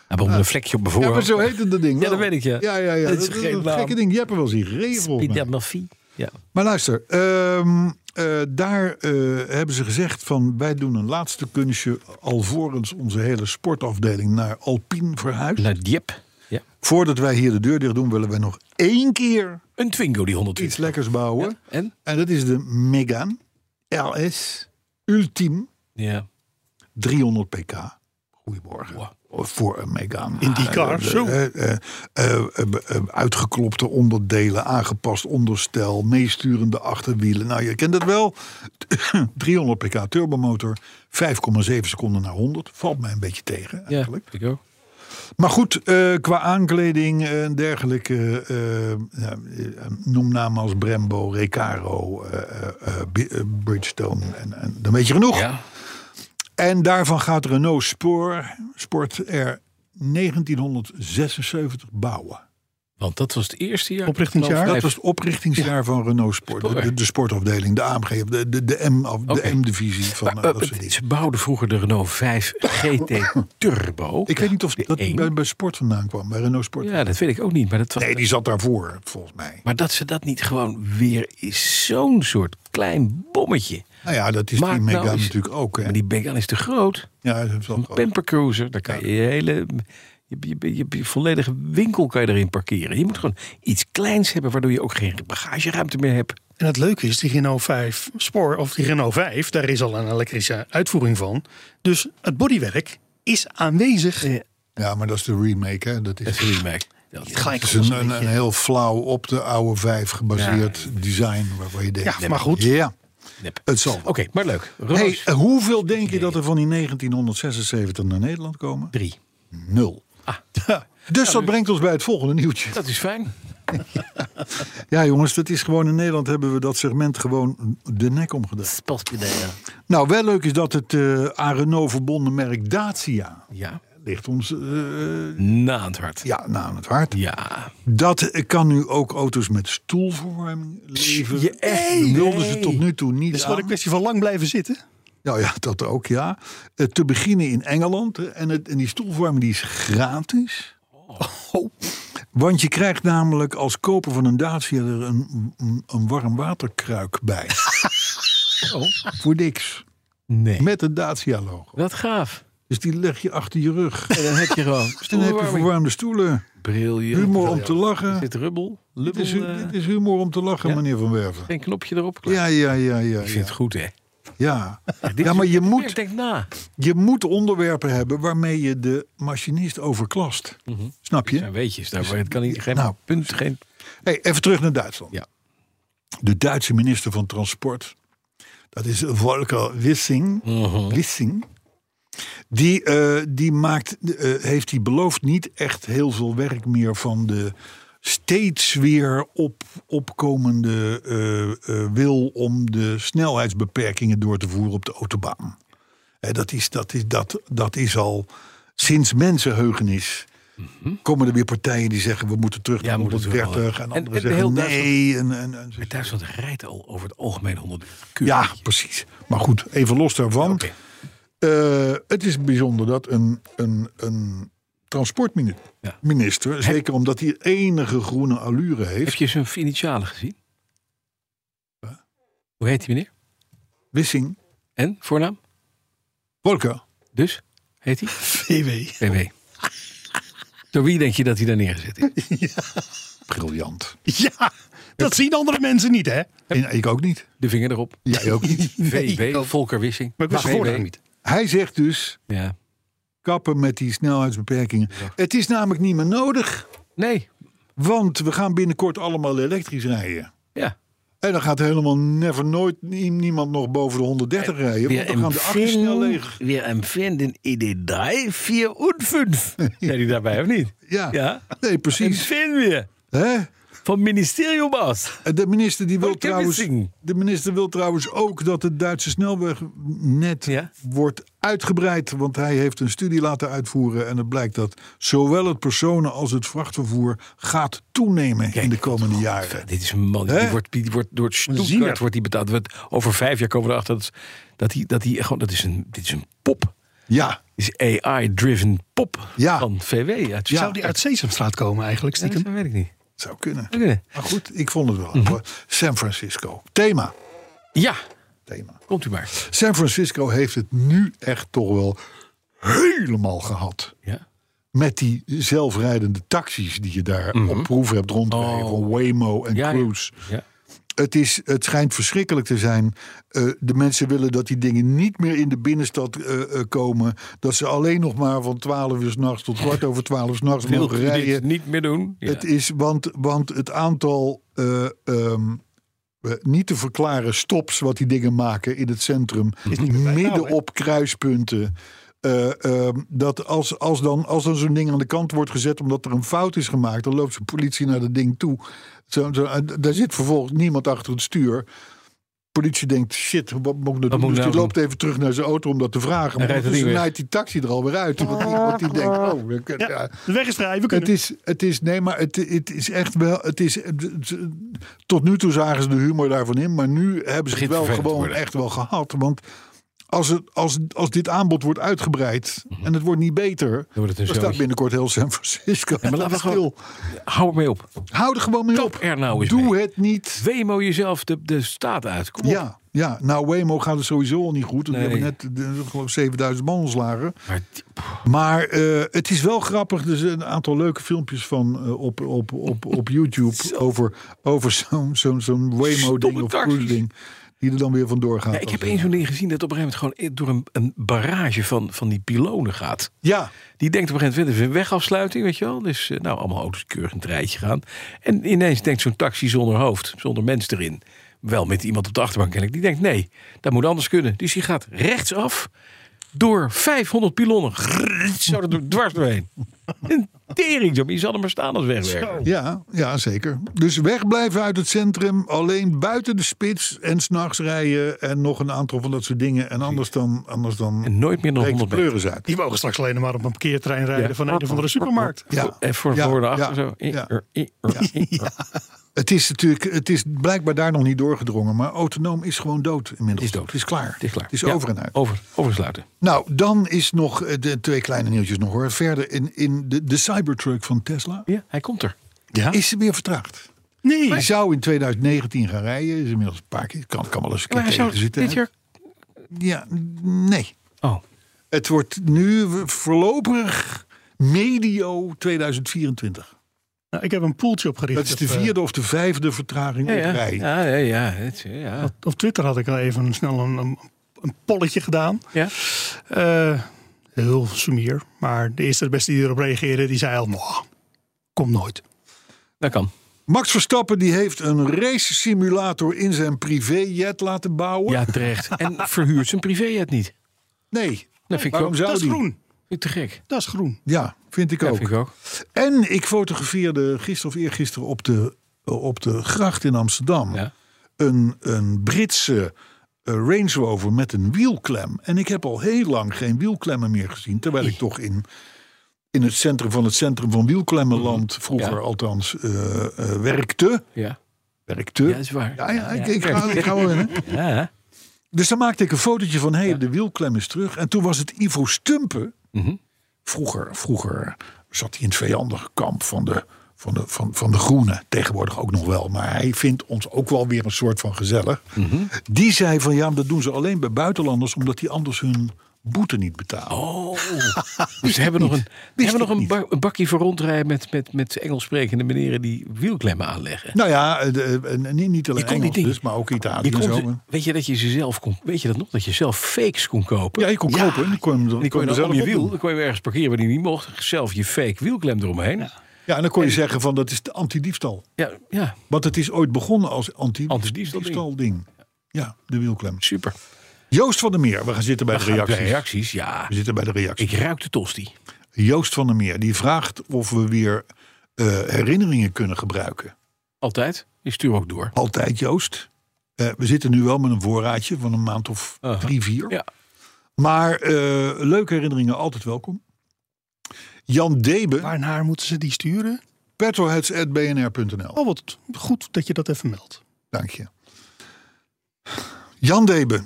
Hij begon een vlekje op mijn Ja, maar voorhoofd. zo heette dat ding. Ja, wel. dat weet ik, ja. Ja, ja, ja. Dat Dat is is geen een naam. gekke ding. Je hebt er wel eens in gereden, volgens mij. Spidermafie? Ja. Maar luister, ehm, eh, daar eh, hebben ze gezegd van wij doen een laatste kunstje alvorens onze hele sportafdeling naar Alpine verhuist. Naar Diep. Ja. Voordat wij hier de deur dicht doen, willen wij nog één keer Een Twingo die iets 120. lekkers bouwen. En? En dat is de Megane LS Ultime Ja. 300 pk. Goedemorgen. Voor een Megane. In die car, Eh, zo. eh, eh, eh, eh, eh, uitgeklopte onderdelen, aangepast onderstel, meesturende achterwielen. Nou, je kent dat wel. 300 pk turbomotor, 5,7 seconden naar 100. Valt mij een beetje tegen Ja, eigenlijk. ik ook. Maar goed, eh, qua aankleding eh, en dergelijke. eh, eh, ja, eh, noem namen als Brembo, Recaro, eh, eh, eh, Bi- eh, Bridgestone. En, en dan weet je genoeg. Ja. En daarvan gaat Renault Spoor, Sport er 1976 bouwen. Want dat was het eerste jaar. Oprichtingsjaar? Dat was het oprichtingsjaar van Renault Sport. De, de- de sportafdeling, de AMG, de, de, de, M, af- de Oké. M-divisie van Maar, eh, eh, dat soort dingen. ze bouwden vroeger de Renault 5 GT Turbo. Ik weet niet of de dat één. bij, bij Sport vandaan kwam, bij Renault Sport. Ja, dat weet ik ook niet. Maar, dat was- Nee, die zat daarvoor, volgens mij. maar dat ze dat niet gewoon weer is zo'n soort klein bommetje. Nou ja, dat is Maak die nou Megane eens- natuurlijk ook. Hè. Maar die Began is te groot. Ja, dat is wel Een groot. pampercruiser. Daar kan je je hele... Je, je, je, je volledige winkel kan je erin parkeren. Je moet gewoon iets kleins hebben... waardoor je ook geen bagageruimte meer hebt. En het leuke is, die Renault 5 Spoor, of die Renault 5, daar is al een elektrische uitvoering van. Dus het bodywerk is aanwezig. Ja, maar dat is de remake, hè. Dat is, Dat is mij. Dat Gelijk dat is alles een, een een, beetje. een heel flauw op de oude vijf gebaseerd design. Waarvan je denkt, Ja, maar goed. Ja, nep. het zal. Oké, maar leuk. Hey, Renault eh, hoeveel denk je dat er van die 1976 naar Nederland komen? 3. Nul. Dus dat brengt ons bij het volgende nieuwtje. Dat is fijn. Ja, jongens, dat is gewoon in Nederland hebben we dat segment gewoon de nek omgedaan. Sportpidea. Nou, wel leuk is dat het eh aan Renault verbonden merk Dacia Ja. ligt ons eh, Na het hart. ja, nou aan het hart. Ja. Dat eh, kan nu ook auto's met stoelverwarming leveren. je echt? Dat wilden ze Nee. tot nu toe niet Het is gewoon aan. een kwestie van lang blijven zitten. Nou ja, dat ook, ja. Eh, te beginnen in Engeland. eh, En, het, en die stoelverwarming die is gratis. Oh. Want je krijgt namelijk als koper van een Dacia er een, een, een warm waterkruik bij. Voor niks. Oh. Nee. Met het Dacia logo. Wat gaaf. Dus die leg je achter je rug. En dan heb je gewoon En dan heb je stoelverwarming. verwarmde stoelen. Briljant. Humor om te Is lachen. dit rubbel? Dit Lubbel, is, eh, dit is humor om te lachen, ja? meneer Van Werven. Geen knopje erop. Klaar. Ja, ja, ja, ja. Ik vind het Ja, goed, hè? ja. Dit ja is- maar je Ik moet, denk na. je moet onderwerpen hebben waarmee je de machinist overklast. Mhm. Snap je? Ja, weet je, daar, het kan niet, geen Nou. punt, geen... Hey, even terug naar Duitsland. Ja. De Duitse minister van Transport, dat is Volker Wissing. Mhm. Wissing die eh, die maakt, eh, heeft hij beloofd niet echt heel veel werk meer van de steeds weer op, opkomende eh, eh, wil om de snelheidsbeperkingen door te voeren op de autobaan. Hè, dat, is, dat, is, dat, dat is al sinds mensenheugenis. Komen er weer partijen die zeggen we moeten terug naar Mhm. Ja, we moeten 130 wel. en En- anderen en heel zeggen nee. En, en, en, Maar Duitsland rijdt al over het algemeen 100 uur. ja, precies. Maar goed, even los daarvan. Oké. Eh, het is bijzonder dat een, een, een transportminister, Ja. minister, zeker omdat hij enige groene allure Heb heeft, je zijn initialen gezien? Hoe heet die meneer? Wissing, En? Voornaam? Volker, Dus? Heet hij? VW. BW. Door wie denk je dat hij daar neergezet is? briljant. Ja, dat zien andere mensen niet, hè? En ik ook niet. De vinger erop. Jij ook niet. VW, Volker Wissing. Maar ik wist VW. het voornaam niet. Hij zegt dus, Ja. kappen met die snelheidsbeperkingen. Het is namelijk niet meer nodig, Nee. want we gaan binnenkort allemaal elektrisch rijden. Ja. En dan gaat helemaal never nooit nie- niemand nog boven de 130 rijden. Want Wir dan gaan de akkers snel empfehlen, leeg. wir empfehlen den ED3, 4 und 5. Zijn die daarbij of niet? Ja, Ja. nee, precies. Empfehlen wir. Hè? Vom Ministerium aus. De minister, die Oh, wil Volker trouwens, Wissing. de minister wil trouwens ook dat het Duitse snelwegnet Ja. wordt uitgebreid. Want hij heeft een studie laten uitvoeren. En het blijkt dat zowel het personen- als het vrachtvervoer gaat toenemen in de komende jaren. Dit is een man. Die Hè? wordt, die wordt door ziener. Stuttgart wordt die betaald. Wordt- Over vijf jaar komen we erachter dat, dat die, dat die gewoon, dat is een, dit is een pop. Ja, Dit is AI-driven pop Ja. van VW. Uit Zou die uit Sesamstraat komen eigenlijk, Ja, stiekem? dat weet ik niet. zou kunnen. Zou kunnen. Mhm. Maar goed, ik vond het wel. hoor. San Francisco. Thema. Ja, Thema. komt u maar. San Francisco heeft het nu echt toch wel helemaal gehad. Ja. Met die zelfrijdende taxis die je daar op proef hebt rondrijden. Mhm. Oh. Van Waymo en Ja, ja. Cruise. Ja. Het, is, het schijnt verschrikkelijk te zijn. Eh, de mensen willen dat die dingen niet meer in de binnenstad eh, eh, komen. Dat ze alleen nog maar van 12 uur s'nachts tot kwart over 12 s'nachts Wil mogen je dit rijden. niet meer doen? Ja. Het is, want, want het aantal eh, ehm, eh, niet te verklaren stops wat die dingen maken in het centrum. midden op kruispunten. Eh, ehm, dat als, als dan, als dan zo'n ding aan de kant wordt gezet omdat er een fout is gemaakt, dan loopt de eh, politie naar dat ding toe. Zo, zo, en daar zit vervolgens niemand achter het stuur. politie denkt, shit, wat moet ik nou doen? moet ik Dus nou die doen? loopt even terug naar zijn auto om dat te vragen. Maar rijdt er ondertussen niet weg. naait die taxi er alweer uit. Want die, want die denkt, oh, we kunnen- ja. De weg is vrij, we Het kunnen. is, het is, nee, maar het, het is echt wel, het is, het- tot nu toe zagen ze de humor daarvan in, maar nu hebben ze het Begint wel vervelend te gewoon worden. echt wel gehad. Want als, het, als, als dit aanbod wordt uitgebreid en het wordt niet beter, dan, Mhm. wordt het dus een staat zootje. binnenkort heel San Francisco. maar laten we gewoon- Hou ermee op. Hou er gewoon mee Kap op. er nou eens Doe mee. het niet. Wemo jezelf de, de staat uit. Kom op. Ja, ja, nou Waymo gaat het sowieso al niet goed. want Nee. We hebben net de, geloof ik, 7000 man ontslagen. Maar die- Maar eh, het is wel grappig. Er zijn een aantal leuke filmpjes van eh, op, op, op, op YouTube over, over zo'n zo'n zo'n Waymo-ding Stomme of taxis. cruise-ding. Die er dan weer vandoor gaat. Ja, ik heb Als- eens zo'n ding gezien dat op een gegeven moment gewoon door een, een barrage van, van die pilonen gaat. Ja, Die denkt op een gegeven moment, een wegafsluiting, weet je wel. Dus eh, nou, allemaal auto's keurig een rijtje gaan. En ineens denkt zo'n taxi zonder hoofd, zonder mens erin. Wel met iemand op de achterbank kennelijk. Die denkt, nee, dat moet anders kunnen. Dus die gaat rechtsaf door 500 pilonnen. Grrr, Zo er dwars doorheen. Een tering, zo. Je zal er maar staan als wegwerker. ja, ja, zeker. Dus wegblijven uit het centrum. Alleen buiten de spits. En s'nachts rijden. En nog een aantal van dat soort dingen. En anders dan. Anders dan En nooit meer dan breekt de 100 meter. kleur eens uit. Die mogen straks alleen maar op een parkeertrein rijden Ja. van een of andere supermarkt. Ja. En Eh, voor, Ja, voor de ja, achter zo. ja. Er, er, er, er. Het is natuurlijk, het is blijkbaar daar nog niet doorgedrongen, maar autonoom is gewoon dood inmiddels. Het is dood. Het is klaar. Het is klaar. Het is Ja, over en uit. Over, oversluiten. Nou, dan is nog eh, de twee kleine nieuwtjes nog hoor. Verder in, in de, de Cybertruck van Tesla Ja, hij komt er. is ze weer vertraagd. Nee, Die zou in 2019 gaan rijden, is inmiddels een paar keer, kan, kan wel eens een keer Maar hij zou tegen zitten. dit hè? jaar... Ja, nee. Oh, Het wordt nu voorlopig medio 2024. Nou, ik heb een poeltje opgericht. Dat is de op, eh, vierde of de vijfde vertraging ja, op ja, rij. ja, ja, ja, het- ja. Op Twitter had ik al even snel een, een, een polletje gedaan. ja. Eh, heel sumier. Maar de eerste de beste die erop reageerde, die zei al... "Mwah, Kom nooit. Dat kan. Max Verstappen die heeft een race simulator in zijn privéjet laten bouwen. Ja, terecht. En verhuurt zijn privéjet niet. Nee, Dat vind ik waarom ook zou Dat is die? groen. vind ik te gek. Dat is groen. Ja, vind ik Ja, ook. vind ik ook. En ik fotografeerde gisteren of eergisteren op de, eh, op de gracht in Amsterdam Ja. een, een Britse eh, Range Rover met een wielklem. En ik heb al heel lang geen wielklemmen meer gezien. Terwijl ik toch in, in het centrum van het centrum van wielklemmenland vroeger Mhm. Ja. althans eh, eh, werkte. Ja. Werkte. ja, Ja, dat is waar. ja, ik, ik, ga, ik ga wel in. hè. Ja. Dus dan maakte ik een fotootje van, hé, hey, de wielklem is terug. En toen was het Ivo Stumpen. Mhm. Vroeger, vroeger zat hij in het vijandige kamp van de, van, de, van, van de Groenen. Tegenwoordig ook nog wel. Maar hij vindt ons ook wel weer een soort van gezellig. Mhm. Die zei van, ja, maar dat doen ze alleen bij buitenlanders... omdat die anders hun boete niet betalen. Oh. Dus ze hebben nog een, we Wist hebben nog ik een, niet. ba- een bakje voor rondrijden met, met, met Engels sprekende meneren die wielklemmen aanleggen. Nou ja, eh, de, eh, niet- niet alleen kon die Engels dingen. dus, maar ook Italië Je en zo. kon ze- weet je dat je ze zelf kon, weet je dat nog? Dat je zelf fakes kon kopen. Ja, je kon kopen. en Die kon, je hem er- En die kon je er dan om je op wiel, doen. dan kon je hem ergens parkeren waar die niet mocht. Zelf je fake wielklem eromheen. Ja, Ja, en dan kon je zeggen van, dat is de antidiefstal. ja, Want het is ooit begonnen als Antidiefstal ding. anti-diefstal ding. Ja, de wielklem. super. Joost van der Meer, we gaan zitten bij Dan de gaan we reacties. bij reacties, ja. We zitten bij de reacties. Ik ruik de tosti. Joost van der Meer, die vraagt of we weer eh, herinneringen kunnen gebruiken. Altijd. Je stuur ook door. Altijd Joost. Eh, we zitten nu wel met een voorraadje van een maand of Aha. drie, vier. Ja. Maar eh, leuke herinneringen, altijd welkom. Jan Debe, Waar naar moeten ze die sturen? petroheads.bnr.nl. Oh, wat goed dat je dat even meldt. Dank je. Jan Debe,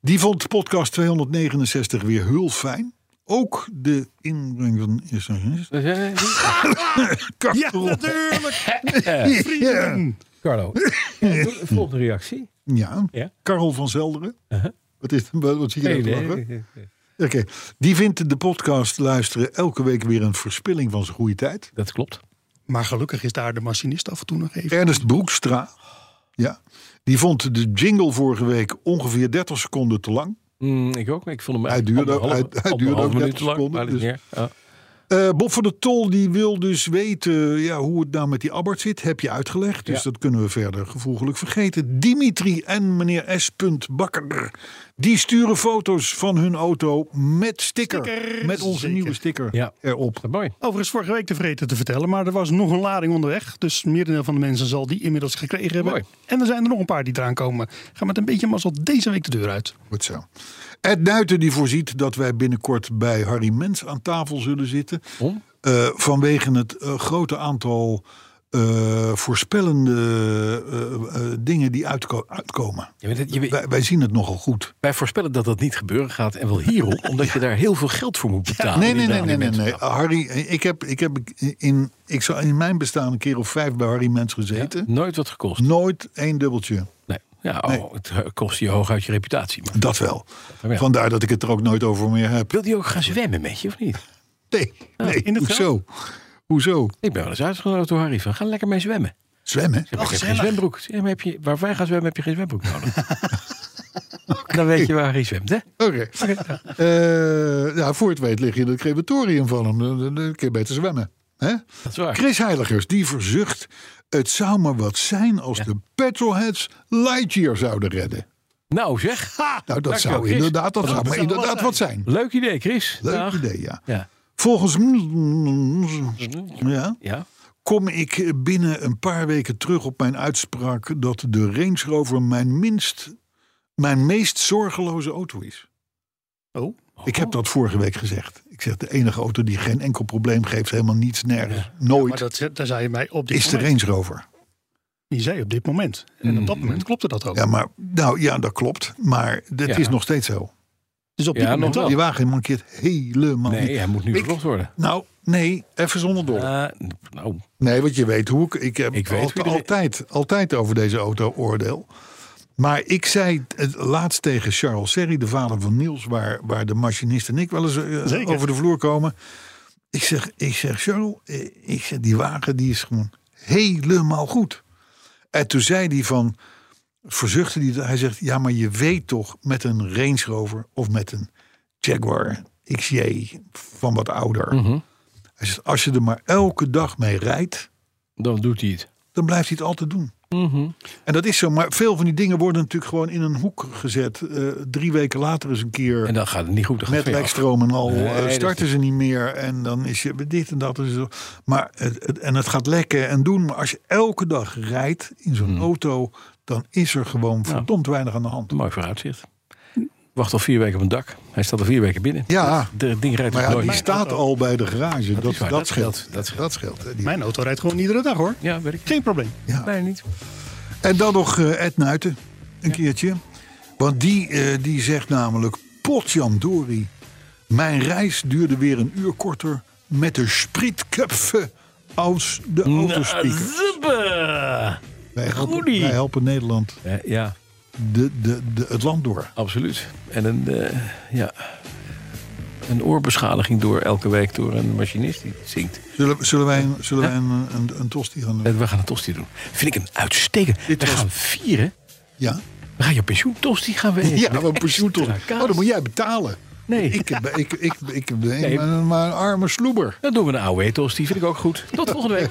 die vond podcast 269 weer heel fijn. Ook de inbreng van... Is er een- is er Dat zei- een- Ja, natuurlijk. Ja. Carlo, ja, doe- volgende reactie. Ja. Ja. Karel van Zelderen. Uh-huh. Wat, is, wat wat zie je Nee, daar te nee, lachen? nee, nee. Oké. Die vindt de podcast luisteren elke week weer een verspilling van zijn goede tijd. Dat klopt. Maar gelukkig is daar de machinist af en toe nog even. Ernest Broekstra. Ja. Die vond de jingle vorige week ongeveer 30 seconden te lang. Mm, ik ook. maar Ik vond hem Hij duurde ook- anderhalve- hij- hij duurde anderhalve ook minuut 30 lang, seconden, maar dat is dus- niet erg. Ja. Eh, Bob van der Tol die wil dus weten ja, hoe het nou met die Abbert zit. Heb je uitgelegd. Dus dat kunnen we verder gevoegelijk vergeten. Dimitri en meneer S. Bakker. Die sturen foto's van hun auto met sticker. Sticker, met onze zeker. nieuwe sticker Ja. erop. Mooi. Overigens vorige week te vergeten te vertellen, maar er was nog een lading onderweg. Dus merendeel van de mensen zal die inmiddels gekregen hebben. Mooi. En er zijn er nog een paar die eraan komen. Gaan met een beetje mazzel deze week de deur uit. Goed zo. Ed Nuiten die voorziet dat wij binnenkort bij Harry Mens aan tafel zullen zitten. Om? Eh, vanwege het eh, grote aantal eh, voorspellende eh, eh, dingen die uitko- uitkomen. Je weet het, je weet- Wij, wij zien het nogal goed. wij voorspellen dat dat niet gebeuren gaat. En wel hierop, omdat je daar heel veel geld voor moet betalen. nee, nee, nee, inderdaad, nee, nee, die nee. mensen. Harry, eh, ik heb, ik heb in, ik zou in mijn bestaan een keer of vijf bij Harry Mens gezeten. Nooit wat gekost. Nooit één dubbeltje. Nee. Ja, oh, het eh, kost je hooguit je reputatie. Maar Dat wel. Ja. Vandaar dat ik het er ook nooit over meer heb. wil die ook gaan zwemmen met je of niet? Nee, nee. in het hoezo? Hoezo? Ik ben wel eens uitgenodigd door Harry van ga lekker mee zwemmen. Zwemmen? Oh, Ik heb geen zwembroek. Ja, maar heb je, waar wij gaan zwemmen heb je geen zwembroek nodig. Dan weet je waar Harry zwemt, hè? Oké. Eh, ja, voor het weet lig je in het crematorium van hem. Dan- Dan dan kun je beter zwemmen. Hè? Dat is waar. Chris Heiligers, die verzucht... het zou maar wat zijn als de petrolheads Lightyear zouden redden. Nou zeg. Nou, dat dankjewel, zou Chris. inderdaad, dat zou maar inderdaad wat zijn. Leuk idee, Chris. Leuk Dag. idee, ja. Ja. Volgens... Ja, ja. kom ik binnen een paar weken terug op mijn uitspraak... dat de Range Rover mijn, minst, mijn meest zorgeloze auto is. Oh. Ik heb dat vorige week gezegd. Ik zeg, de enige auto die geen enkel probleem geeft, helemaal niets, nergens, nooit, Maar dat, daar zei je mij op dit is de moment. Range Rover. Die zei op dit moment. En op dat Mhm. moment klopte dat ook. Ja, maar, nou ja, dat klopt. Maar dat Ja. is nog steeds zo. Dus op dit Ja, nog moment wel. wel. Die wagen mankeert helemaal Nee, niet. hij moet nu verkocht worden. Nou, nee, even zonder dol. Eh, nou, Nee, want je weet hoe ik... Ik heb Ik weet al- wie er- altijd, altijd over deze auto oordeel. Maar ik zei het laatst tegen Charles Serry, de vader van Niels... waar, waar de machinist en ik wel eens eh, Zeker. over de vloer komen. Ik zeg, ik zeg Charles, eh, ik zeg, die wagen die is gewoon helemaal goed. En toen zei hij van... Verzuchtte hij, hij zegt, ja, maar je weet toch met een Range Rover... of met een Jaguar XJ van wat ouder... Hij zegt, als je er maar elke dag mee rijdt, dan doet hij het. dan blijft hij het altijd doen. Mhm. En dat is zo, maar veel van die dingen worden natuurlijk gewoon in een hoek gezet. Eh, drie weken later is een keer En dan gaat het niet goed. Dan met gaat het weer af. wegstroom en al Nee, eh, dat is starten ze niet meer. En dan is je dit en dat. En zo. Maar het, het- en het gaat lekken en doen. Maar als je elke dag rijdt in zo'n Mhm. auto, dan is er gewoon verdomd weinig aan de hand. Mooi vooruitzicht. Wacht al vier weken op een dak. Hij staat al vier weken binnen. Ja. De ding rijdt Maar nog ja, die nooit. staat al bij de garage. Dat, is waar, dat, dat scheelt. scheelt, dat scheelt. Dat scheelt. hè, die- Mijn auto rijdt gewoon iedere dag hoor. Ja, weet ik. Geen probleem. Ja. Nee, niet. En dan nog eh, Ed Nuiten, een keertje. Want die, eh, die zegt namelijk, potjandori, mijn reis duurde weer een uur korter met de sprietköpfe als de autospeaker. Zuppe! Wij helpen, goedie. wij helpen Nederland Ja, Eh, ja, de, de, de, het land door. absoluut. En een, eh, ja, een oorbeschadiging door elke week door een machinist die zingt. Zullen, zullen wij, een- zullen wij een, een, een tosti gaan doen? En We gaan een tosti doen. Vind ik een uitstekend. We was- gaan vieren. Ja? We gaan je pensioen tosti gaan we eten. Ja, Met maar een pensioentosti. extra kaas. Oh, dan moet jij betalen. Nee, Ik, ik, ik, ik, ik ben Nee. maar- maar een arme sloeber. dan doen we een oude tosti. Vind ik ook goed. Tot volgende week.